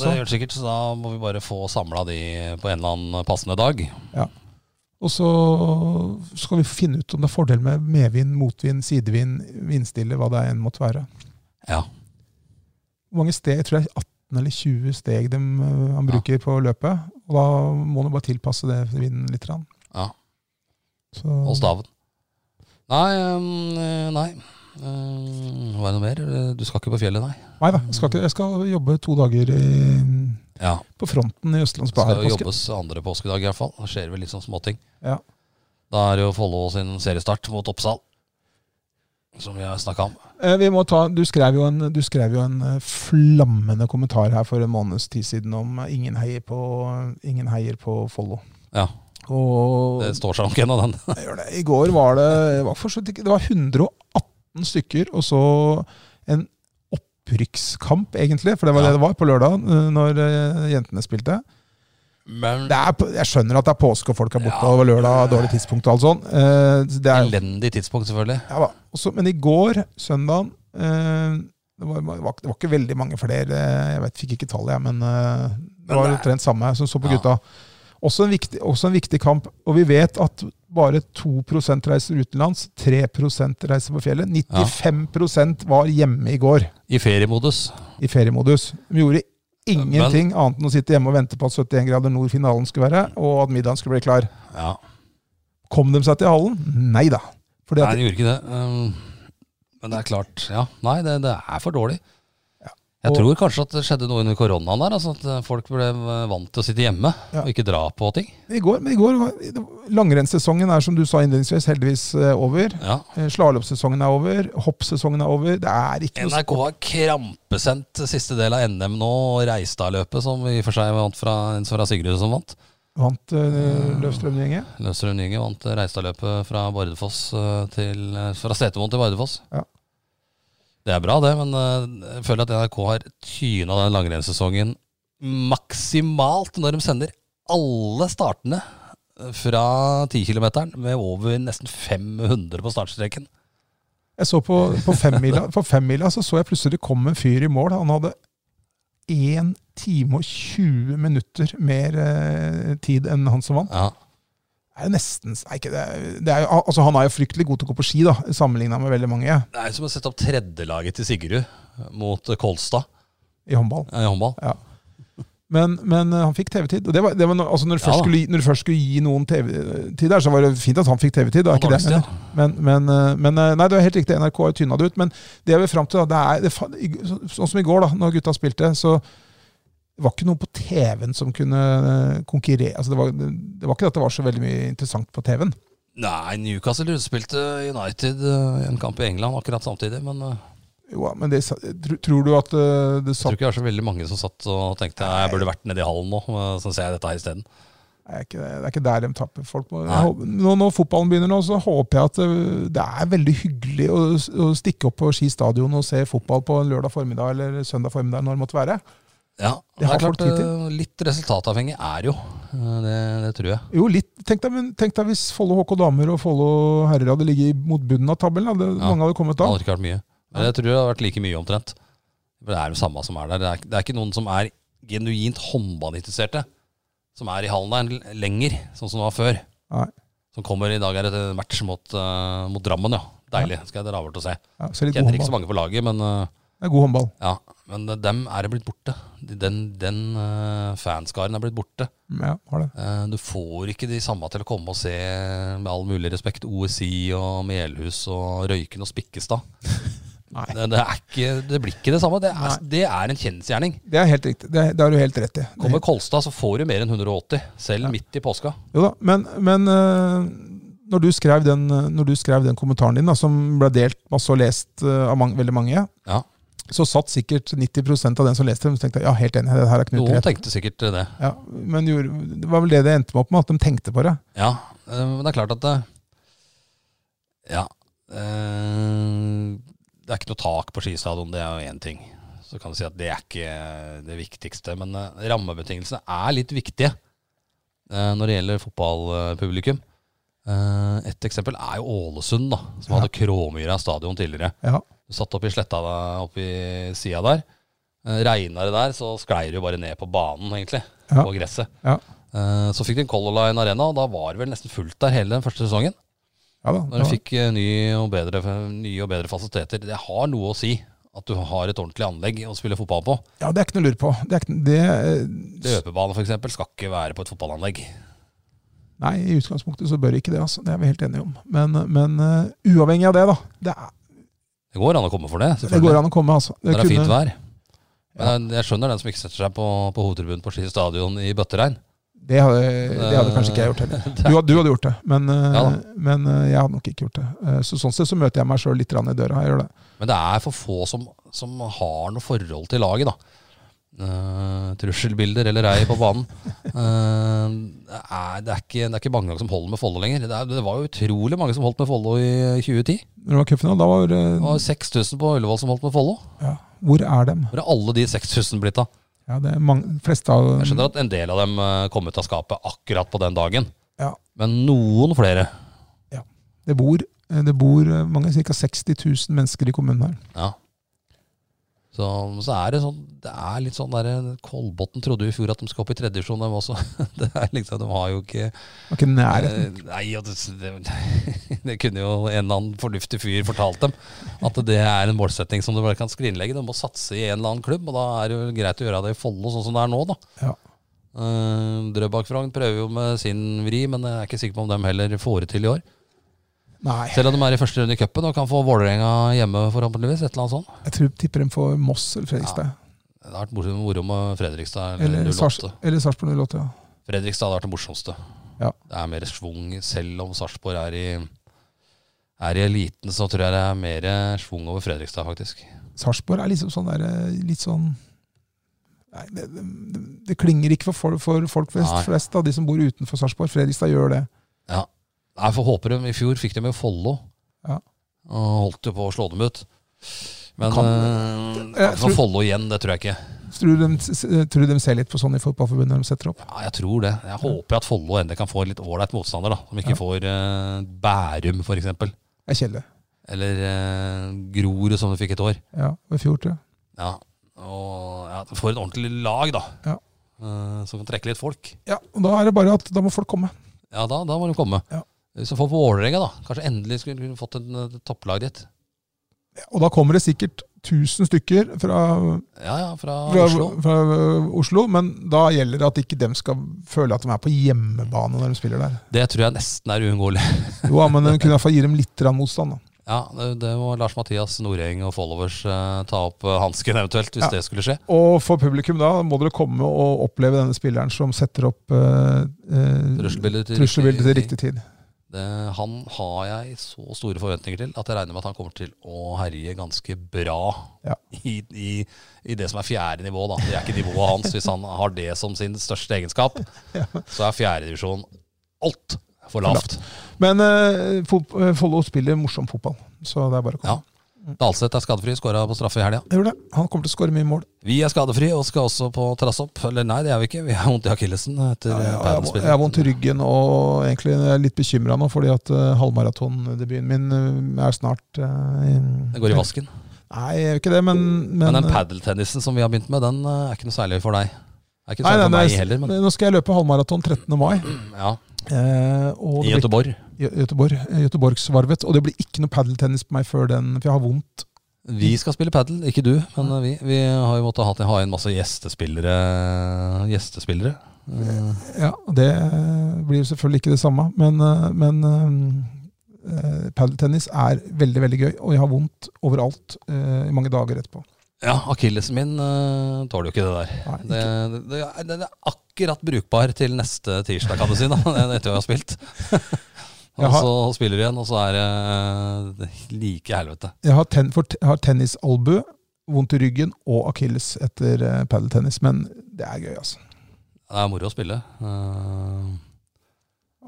Speaker 1: da, det
Speaker 2: også.
Speaker 1: gjør det sikkert, så da må vi bare få samla de på en eller annen passende dag.
Speaker 2: Og så skal vi finne ut om det er fordel med medvind, motvind, sidevind, vindstille, hva det enn måtte være.
Speaker 1: Ja.
Speaker 2: Hvor mange steg, jeg tror det er 18 eller 20 steg de, eh, han bruker på løpet. Og da må han jo bare tilpasse det vinden litt. grann.
Speaker 1: ja.
Speaker 2: Så,
Speaker 1: Og staven. Nei, ehm, eh, nei. Ehm, Hva er det noe mer? Du skal ikke på fjellet, nei?
Speaker 2: Nei da, jeg skal, ikke, jeg skal jobbe to dager i,
Speaker 1: Ja.
Speaker 2: på fronten i
Speaker 1: Det
Speaker 2: Østlandsbladet
Speaker 1: skal
Speaker 2: her i
Speaker 1: jo
Speaker 2: påsken.
Speaker 1: jobbes andre påskedag i hvert fall. Da skjer det vel litt sånn småting.
Speaker 2: Ja.
Speaker 1: Da er det jo Follo sin seriestart mot Oppsal, som vi har snakka om.
Speaker 2: Eh, Vi må ta, du, skrev jo en, du skrev jo en eh, flammende kommentar her for en måneds tid siden om eh, ingen heier på, ingen heier på Follo.
Speaker 1: Ja,
Speaker 2: Og
Speaker 1: Det står seg nok ennå, den.
Speaker 2: Jeg gjør det. I går var det det var, for så vidt ikke- det var 118 stykker, og så en opprykkskamp, egentlig. For det var
Speaker 1: Ja.
Speaker 2: det det var på lørdag, eh, når eh, jentene spilte.
Speaker 1: Men
Speaker 2: Det er, på- jeg skjønner at det er påske og folk er borte,
Speaker 1: Ja.
Speaker 2: og lørdag dårlig tidspunkt og alt sånt. Eh, Det er,
Speaker 1: elendig tidspunkt, selvfølgelig.
Speaker 2: ja, da. Også, men i går, søndagen eh, det var, det, var, det var ikke veldig mange flere. eh, Jeg vet, fikk ikke tallet, jeg, men eh, det var
Speaker 1: det er-
Speaker 2: omtrent samme som så på
Speaker 1: Ja.
Speaker 2: gutta. Også en, viktig, også en viktig kamp. Og vi vet at bare 2 reiser utenlands, 3 reiser på fjellet. 95 var hjemme i går,
Speaker 1: I feriemodus.
Speaker 2: i feriemodus. De gjorde ingenting annet enn å sitte hjemme og vente på at 71 grader nord-finalen skulle være, og at middagen skulle bli klar.
Speaker 1: Ja.
Speaker 2: Kom de seg til hallen? Nei da. Fordi
Speaker 1: Nei,
Speaker 2: at
Speaker 1: det gjorde ikke det. Um, men det er klart, ja. Nei, det, det er for dårlig. Jeg
Speaker 2: og-
Speaker 1: tror kanskje at det skjedde noe under koronaen der. Altså at eh, folk ble eh, vant til å sitte hjemme
Speaker 2: Ja.
Speaker 1: og ikke dra på ting.
Speaker 2: I går, men i går var, Langrennssesongen er, som du sa innledningsvis, heldigvis eh, over.
Speaker 1: Ja.
Speaker 2: Slalåmsesongen er over. Hoppsesongen er over. Det er ikke noe
Speaker 1: NRK har krampesendt siste del av NM nå, og Reistad-løpet, som vi i og for seg vant fra, en fra Sigrid som vant.
Speaker 2: vant uh, Løvstrøm Gjenge.
Speaker 1: Løsrud Nynge vant eh, Reistad-løpet fra Bardufoss eh, til eh, Fra Setermoen til Bardufoss.
Speaker 2: Ja.
Speaker 1: Det er bra, det, men eh, jeg føler at NRK har tyna den langrennssesongen maksimalt når de sender alle startene eh, fra 10-kilometeren med over nesten 500 på startstreken.
Speaker 2: Jeg så på, på femmila, på femmila så, så jeg plutselig det kom en fyr i mål. Han hadde 1 time og 20 minutter mer eh, tid enn han som vant.
Speaker 1: Ja.
Speaker 2: Det er jo nesten nei, ikke, det er, det er jo, al- altså, Han er jo fryktelig god til å gå på ski, da, sammenligna med veldig mange
Speaker 1: Det er jo som å sette opp tredjelaget til Sigrud mot eh, Kolstad
Speaker 2: i håndball.
Speaker 1: eh, i håndball.
Speaker 2: Ja. Men, men eh, han fikk TV-tid. og det var, det var, no- altså når, du
Speaker 1: Ja
Speaker 2: først
Speaker 1: da.
Speaker 2: skulle, gi- når du først skulle gi noen TV-tid der, så var det fint at han fikk TV-tid. Det er ikke det, jeg
Speaker 1: Dårligst, ja.
Speaker 2: mener. men, men, eh, men eh, Nei, det var helt riktig. NRK har tynna det ut. Men det jeg vil fram til, da, det er det, fa- i- så- sånn som i går, da når gutta spilte, så det var ikke noe på TV-en som kunne eh, konkurrere. Altså, det, var, det var ikke at det var så veldig mye interessant på TV-en.
Speaker 1: Nei, Newcastle utspilte United eh, i en kamp i England akkurat samtidig, men eh,
Speaker 2: Jo, men det, sa- tro- tror du at eh, det
Speaker 1: jeg tror
Speaker 2: satt
Speaker 1: ikke det er så veldig mange som satt og tenkte jeg burde vært nede i hallen nå, eh, så ser jeg dette her isteden.
Speaker 2: Det er ikke, det er ikke der de tapper folk. Må-
Speaker 1: Nei.
Speaker 2: jeg håper- Nå, når fotballen begynner nå, så håper jeg at øh, det er veldig hyggelig å, s- å stikke opp på Ski stadion og se fotball på en lørdag formiddag eller søndag formiddag når det måtte være.
Speaker 1: Ja,
Speaker 2: Det
Speaker 1: det
Speaker 2: har
Speaker 1: er klart
Speaker 2: folk tid til.
Speaker 1: eh, litt resultatavhengig er jo, eh, det, det tror jeg.
Speaker 2: Jo, litt. Tenk deg, men, tenk deg hvis Follo HK damer og Follo herrer hadde ligget i- mot bunnen av tabellen. Hadde,
Speaker 1: Ja.
Speaker 2: Mange hadde kommet
Speaker 1: Det
Speaker 2: da.
Speaker 1: hadde ikke vært mye. Men jeg tror det hadde vært like mye omtrent. For det er de samme som er der. Det er, det er ikke noen som er genuint håndballinteresserte, som er i hallen der l- lenger, sånn som det var før.
Speaker 2: Nei.
Speaker 1: Som kommer i dag er det et match mot, eh, mot Drammen, ja. Deilig. Skal jeg dra over til å se.
Speaker 2: Ja, så litt god
Speaker 1: Kjenner ikke så
Speaker 2: håndball.
Speaker 1: mange på laget, men eh,
Speaker 2: Det er god håndball.
Speaker 1: ja. Men eh, dem er det blitt borte. De- Den, den eh, fanskaren er blitt borte.
Speaker 2: Ja, har det.
Speaker 1: Eh, Du får ikke de samme til å komme og se, med all mulig respekt, OSI og Melhus og Røyken og Spikkestad.
Speaker 2: Nei.
Speaker 1: Det, det, er ikke, det blir ikke det samme. Det er, det er en kjensgjerning.
Speaker 2: Det er helt riktig. Det, det har du helt rett i. Det-
Speaker 1: Kommer Kolstad, så får du mer enn 180, selv
Speaker 2: Ja.
Speaker 1: midt i påska.
Speaker 2: Jo da, men, men øh, når, du skrev den, eh, når du skrev den kommentaren din, da, som ble delt masse og lest øh, av mange, veldig mange,
Speaker 1: Ja.
Speaker 2: så satt sikkert 90 av den som leste dem, og tenkte ja, helt enig, det her er Knut
Speaker 1: Noen
Speaker 2: rett.
Speaker 1: tenkte sikkert det.
Speaker 2: Ja, men gjorde, det var vel det det endte meg opp med, at de tenkte på det.
Speaker 1: Ja, eh, men det er klart at det, Ja. eh, Det er ikke noe tak på skistadion, det er jo én ting. Så kan du si at det er ikke det viktigste, men eh, rammebetingelsene er litt viktige eh, når det gjelder fotballpublikum. Eh, Et eksempel er jo Ålesund, da, som hadde Kråmyra stadion tidligere.
Speaker 2: Ja,
Speaker 1: Du satt opp i sletta da, opp i sida der. Eh, Regna det der, så sklei du bare ned på banen, egentlig.
Speaker 2: Ja.
Speaker 1: På gresset.
Speaker 2: Ja.
Speaker 1: Eh, Så fikk de en Color Line Arena, og da var det vel nesten fullt der hele den første sesongen.
Speaker 2: ja da.
Speaker 1: Når de fikk eh, ny og bedre, nye og bedre fasiliteter. Det har noe å si at du har et ordentlig anlegg å spille fotball på.
Speaker 2: Ja, det er ikke noe å lure på. Det er ikke, det, øh,
Speaker 1: Løpebane f.eks. skal ikke være på et fotballanlegg.
Speaker 2: nei, i utgangspunktet så bør ikke det, altså. Det er vi helt enige om. Men, men øh, uavhengig av det, da. Det, er,
Speaker 1: Det går an å komme for det,
Speaker 2: det
Speaker 1: selvfølgelig.
Speaker 2: går an å komme, altså.
Speaker 1: Når det er fint vær.
Speaker 2: Ja.
Speaker 1: Men eh, jeg skjønner den som ikke setter seg på, på hovedtribunen på Ski stadion i bøtteregn.
Speaker 2: Det hadde, det hadde kanskje ikke jeg gjort heller. Du, had- du hadde gjort det, men, eh,
Speaker 1: Ja da.
Speaker 2: men eh, jeg hadde nok ikke gjort det. Eh, Så sånn sett så møter jeg meg sjøl litt grann i døra. Jeg gjør det.
Speaker 1: Men det er for få som, som har noe forhold til laget, da. Eh, trusselbilder eller ei på banen. Eh, det, er, det, er ikke, det er ikke mange som holder med Follo lenger. Det, er, det var jo utrolig mange som holdt med Follo i 2010.
Speaker 2: Når det var cupfinale, da var
Speaker 1: Det
Speaker 2: eh,
Speaker 1: var 6000 på Ullevål som holdt med Follo.
Speaker 2: ja, Hvor er dem?
Speaker 1: Hvor er alle de 6000 blitt av?
Speaker 2: Ja, det er mange, de fleste av
Speaker 1: Jeg skjønner at en del av dem eh, kom ut av skapet akkurat på den dagen.
Speaker 2: Ja.
Speaker 1: Men noen flere.
Speaker 2: Det bor, eh, det bor eh, mange, ca. 60 000 mennesker i kommunen her.
Speaker 1: Ja. Så, så er det sånn Det er litt sånn der Kolbotn trodde jo i fjor at de skal opp i tredje divisjon, dem også. Det er liksom, de har jo ikke
Speaker 2: Det var ikke i nærheten.
Speaker 1: Eh, Nei, ja, det, det, det kunne jo en eller annen fornuftig fyr fortalt dem. At det er en målsetting som du bare kan skrinlegge. Du må satse i en eller annen klubb, og da er det jo greit å gjøre det i Follo sånn som det er nå, da.
Speaker 2: Ja.
Speaker 1: Eh, Drøbak Frogn prøver jo med sin vri, men jeg er ikke sikker på om dem heller får det til i år.
Speaker 2: Nei,
Speaker 1: Selv om de er i første runde i cupen og kan få Vålerenga hjemme, forhåpentligvis. Et eller annet sånt.
Speaker 2: jeg tror tipper dem for Moss eller Fredrikstad.
Speaker 1: Det hadde vært morsom- moro med Fredrikstad eller,
Speaker 2: eller
Speaker 1: 08.
Speaker 2: Sars- eller Sarpsborg 08. Ja.
Speaker 1: Fredrikstad hadde vært det morsomste.
Speaker 2: Ja.
Speaker 1: Det er mer svung, selv om Sarpsborg er i er i eliten, så tror jeg det er mer svung over Fredrikstad, faktisk.
Speaker 2: Sarpsborg er liksom sånn der, eh, litt sånn Nei, det, det, det- det klinger ikke for, folk- for folk flest,
Speaker 1: Nei.
Speaker 2: flest av de som bor utenfor Sarpsborg. Fredrikstad gjør det.
Speaker 1: Ja. Nei, for håper de, I fjor fikk de jo Follo,
Speaker 2: Ja.
Speaker 1: og holdt jo på å slå dem ut. Men
Speaker 2: Kan-
Speaker 1: kan,
Speaker 2: Jeg
Speaker 1: kan få
Speaker 2: tror-
Speaker 1: Follo igjen, det tror jeg ikke.
Speaker 2: Tror du de, tror du de ser litt på sånn i fotballforbundet når de setter opp?
Speaker 1: Ja, jeg tror det. Jeg håper at Follo endelig kan få en litt ålreit motstander, da. Som ikke
Speaker 2: Ja.
Speaker 1: får eh, Bærum, f.eks.
Speaker 2: Det er kjedelig.
Speaker 1: Eller eh, Grorud, som de fikk et år.
Speaker 2: Ja, og i fjor, tror jeg.
Speaker 1: Ja, og ja, får et ordentlig lag, da.
Speaker 2: Ja.
Speaker 1: Eh, som kan trekke litt folk.
Speaker 2: Ja, og da er det bare at da må folk komme.
Speaker 1: Ja, da, da må de komme.
Speaker 2: Ja.
Speaker 1: Hvis de får Vålerenga, da. Kanskje endelig skulle kunne fått en, eh, topplag dit.
Speaker 2: Og da kommer det sikkert 1000 stykker fra,
Speaker 1: Ja, ja, fra,
Speaker 2: fra,
Speaker 1: Oslo.
Speaker 2: fra Oslo, men da gjelder det at ikke dem skal føle at de er på hjemmebane når de spiller der.
Speaker 1: Det tror jeg nesten er uunngåelig.
Speaker 2: Jo, ja, men de kunne i hvert fall gi dem litt grann motstand. da.
Speaker 1: Ja, det, det må Lars-Mathias Noreng og followers eh, ta opp eh, hansken eventuelt, hvis
Speaker 2: Ja.
Speaker 1: det skulle skje.
Speaker 2: Og for publikum da må dere komme og oppleve denne spilleren som setter opp eh, eh,
Speaker 1: Trusselbildet til
Speaker 2: trusselbildet
Speaker 1: riktig
Speaker 2: til riktig tid.
Speaker 1: Det, han har jeg så store forventninger til at jeg regner med at han kommer til å herje ganske bra
Speaker 2: Ja.
Speaker 1: i, i, i det som er fjerde nivå. Da. Det er ikke nivået hans. Hvis han har det som sin største egenskap, så er fjerdedivisjon altfor lavt.
Speaker 2: Men eh, fot- eh, Follo spiller morsom fotball, så det er bare å komme.
Speaker 1: Ja. Dahlseth er skadefri, skåra på straffe i helga.
Speaker 2: Jeg gjorde det. Han kommer til å skåre mye mål.
Speaker 1: Vi er skadefri og skal også på trassopp. Eller nei, det er vi ikke. Vi har vondt i akillesen etter eh,
Speaker 2: Ja, jeg, jeg,
Speaker 1: Paddens-spillet.
Speaker 2: jeg har vondt i ryggen og egentlig er jeg litt bekymra nå, fordi at eh, halvmaratondebuten min eh, er snart eh,
Speaker 1: Det går i vasken.
Speaker 2: Nei, jeg gjør ikke det, men, men,
Speaker 1: Men den
Speaker 2: eh,
Speaker 1: padeltennisen som vi har begynt med, den eh, er ikke noe særlig for deg. Det er ikke noe
Speaker 2: nei,
Speaker 1: særlig for
Speaker 2: nei, nei,
Speaker 1: meg heller, men
Speaker 2: Nå skal jeg løpe halvmaraton 13. mai.
Speaker 1: ja.
Speaker 2: Eh, og
Speaker 1: I
Speaker 2: det blir,
Speaker 1: Gøteborg.
Speaker 2: Gø- Gøteborg, eh, Gøteborgsvarvet. Og det blir ikke noe padeltennis på meg før den, for jeg har vondt.
Speaker 1: Vi skal spille padel, ikke du, men eh, vi. Vi har jo måttet ha, ha inn masse gjestespillere. Gjestespillere. Eh,
Speaker 2: Ja, og Det eh, blir jo selvfølgelig ikke det samme, men, eh, men eh, eh, padeltennis er veldig, veldig gøy. Og jeg har vondt overalt eh, i mange dager etterpå.
Speaker 1: Ja, akillesen min eh, tåler jo ikke det der.
Speaker 2: Nei,
Speaker 1: Det, det, er- den er akkurat brukbar til neste tirsdag, kan du si, da, etter vi har spilt.
Speaker 2: Jeg
Speaker 1: og
Speaker 2: har-
Speaker 1: så spiller du igjen, og så er det eh, like helvete.
Speaker 2: Jeg har, ten, for, jeg har tennisalbue, vondt i ryggen og akilles etter eh, padeltennis. Men det er gøy, altså.
Speaker 1: Det er moro å spille. Eh,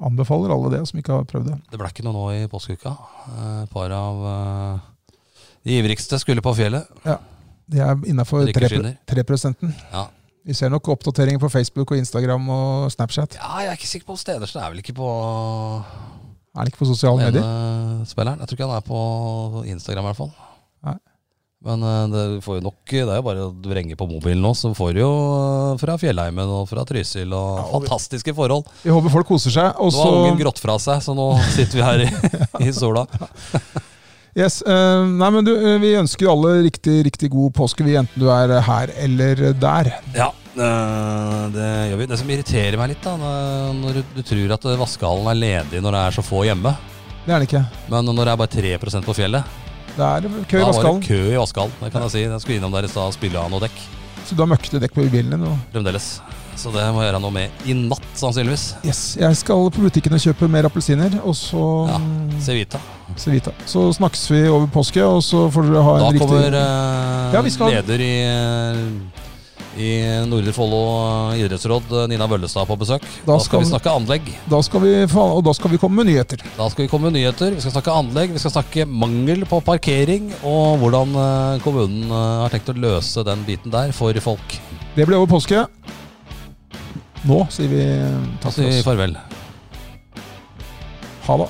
Speaker 2: Anbefaler alle det som ikke har prøvd det.
Speaker 1: Det ble ikke noe nå i påskeuka. Eh, Et par av eh, de ivrigste skulle på fjellet.
Speaker 2: Det er innafor
Speaker 1: Drikkeskinner.
Speaker 2: 3 prosenten.
Speaker 1: Ja.
Speaker 2: Vi ser nok oppdateringer på Facebook og Instagram og Snapchat.
Speaker 1: Ja, jeg er ikke sikker på om Stedersen er vel ikke på
Speaker 2: Er det ikke på
Speaker 1: den
Speaker 2: sosiale medier?
Speaker 1: ene spilleren. Jeg tror ikke han er på Instagram i hvert fall.
Speaker 2: Nei.
Speaker 1: Men eh, det, får jo nok, det er jo bare å vrenge på mobilen nå, så får du jo eh, fra Fjellheimen og fra Trysil og
Speaker 2: Ja, og vi-
Speaker 1: fantastiske forhold.
Speaker 2: Vi håper folk koser seg. Og
Speaker 1: Nå har ungen
Speaker 2: så
Speaker 1: grått fra seg, så nå sitter vi her i, i sola.
Speaker 2: yes, eh, Nei, men du, eh, vi ønsker jo alle riktig, riktig god påske, vi, enten du er her eller der.
Speaker 1: Ja, øh, det gjør vi. Det som irriterer meg litt, da, når- når du, du tror at vaskehallen er ledig når det er så få hjemme,
Speaker 2: Det er det ikke.
Speaker 1: men når det er bare 3 på fjellet
Speaker 2: Det er kø i
Speaker 1: Da var
Speaker 2: vaskehallen,
Speaker 1: det kø i vaskehallen, det kan jeg si. Jeg skulle innom der i stad og spille av noe dekk.
Speaker 2: så du har møkkete dekk på bilen din. Og
Speaker 1: Fremdeles. Så det må jeg gjøre noe med i natt, sannsynligvis.
Speaker 2: Yes, jeg skal på butikken og kjøpe mer appelsiner, og så
Speaker 1: Ja. Civita.
Speaker 2: Civita. Så snakkes vi over påske, og så får dere ha en
Speaker 1: Da
Speaker 2: riktig
Speaker 1: kommer øh,
Speaker 2: Ja, vi skal-
Speaker 1: leder i øh, i Nordre Follo idrettsråd, øh, Nina Bøllestad, på besøk.
Speaker 2: Da
Speaker 1: Da skal
Speaker 2: skal-
Speaker 1: vi snakke anlegg.
Speaker 2: Da skal vi få, Og da skal vi komme med nyheter.
Speaker 1: Da skal vi komme med nyheter, vi skal snakke anlegg, vi skal snakke mangel på parkering, og hvordan eh, kommunen eh, har tenkt å løse den biten der for folk.
Speaker 2: Det blir over påske. Nå sier vi
Speaker 1: Da
Speaker 2: takk
Speaker 1: sier vi
Speaker 2: for oss.
Speaker 1: farvel.
Speaker 2: Ha det.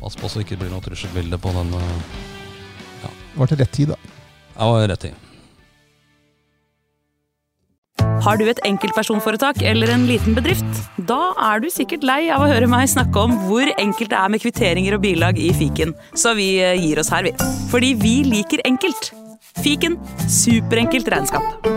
Speaker 1: Pass på så det ikke blir noe trusselbilde på den eh,
Speaker 2: Det var til rett tid, da.
Speaker 1: Jeg var rett i.
Speaker 3: Har du et enkeltpersonforetak eller en liten bedrift? Da er du sikkert lei av å høre meg snakke om hvor enkelt det er med kvitteringer og bilag i fiken, så vi eh, gir oss her, vi. Fordi vi liker enkelt. Fiken superenkelt regnskap.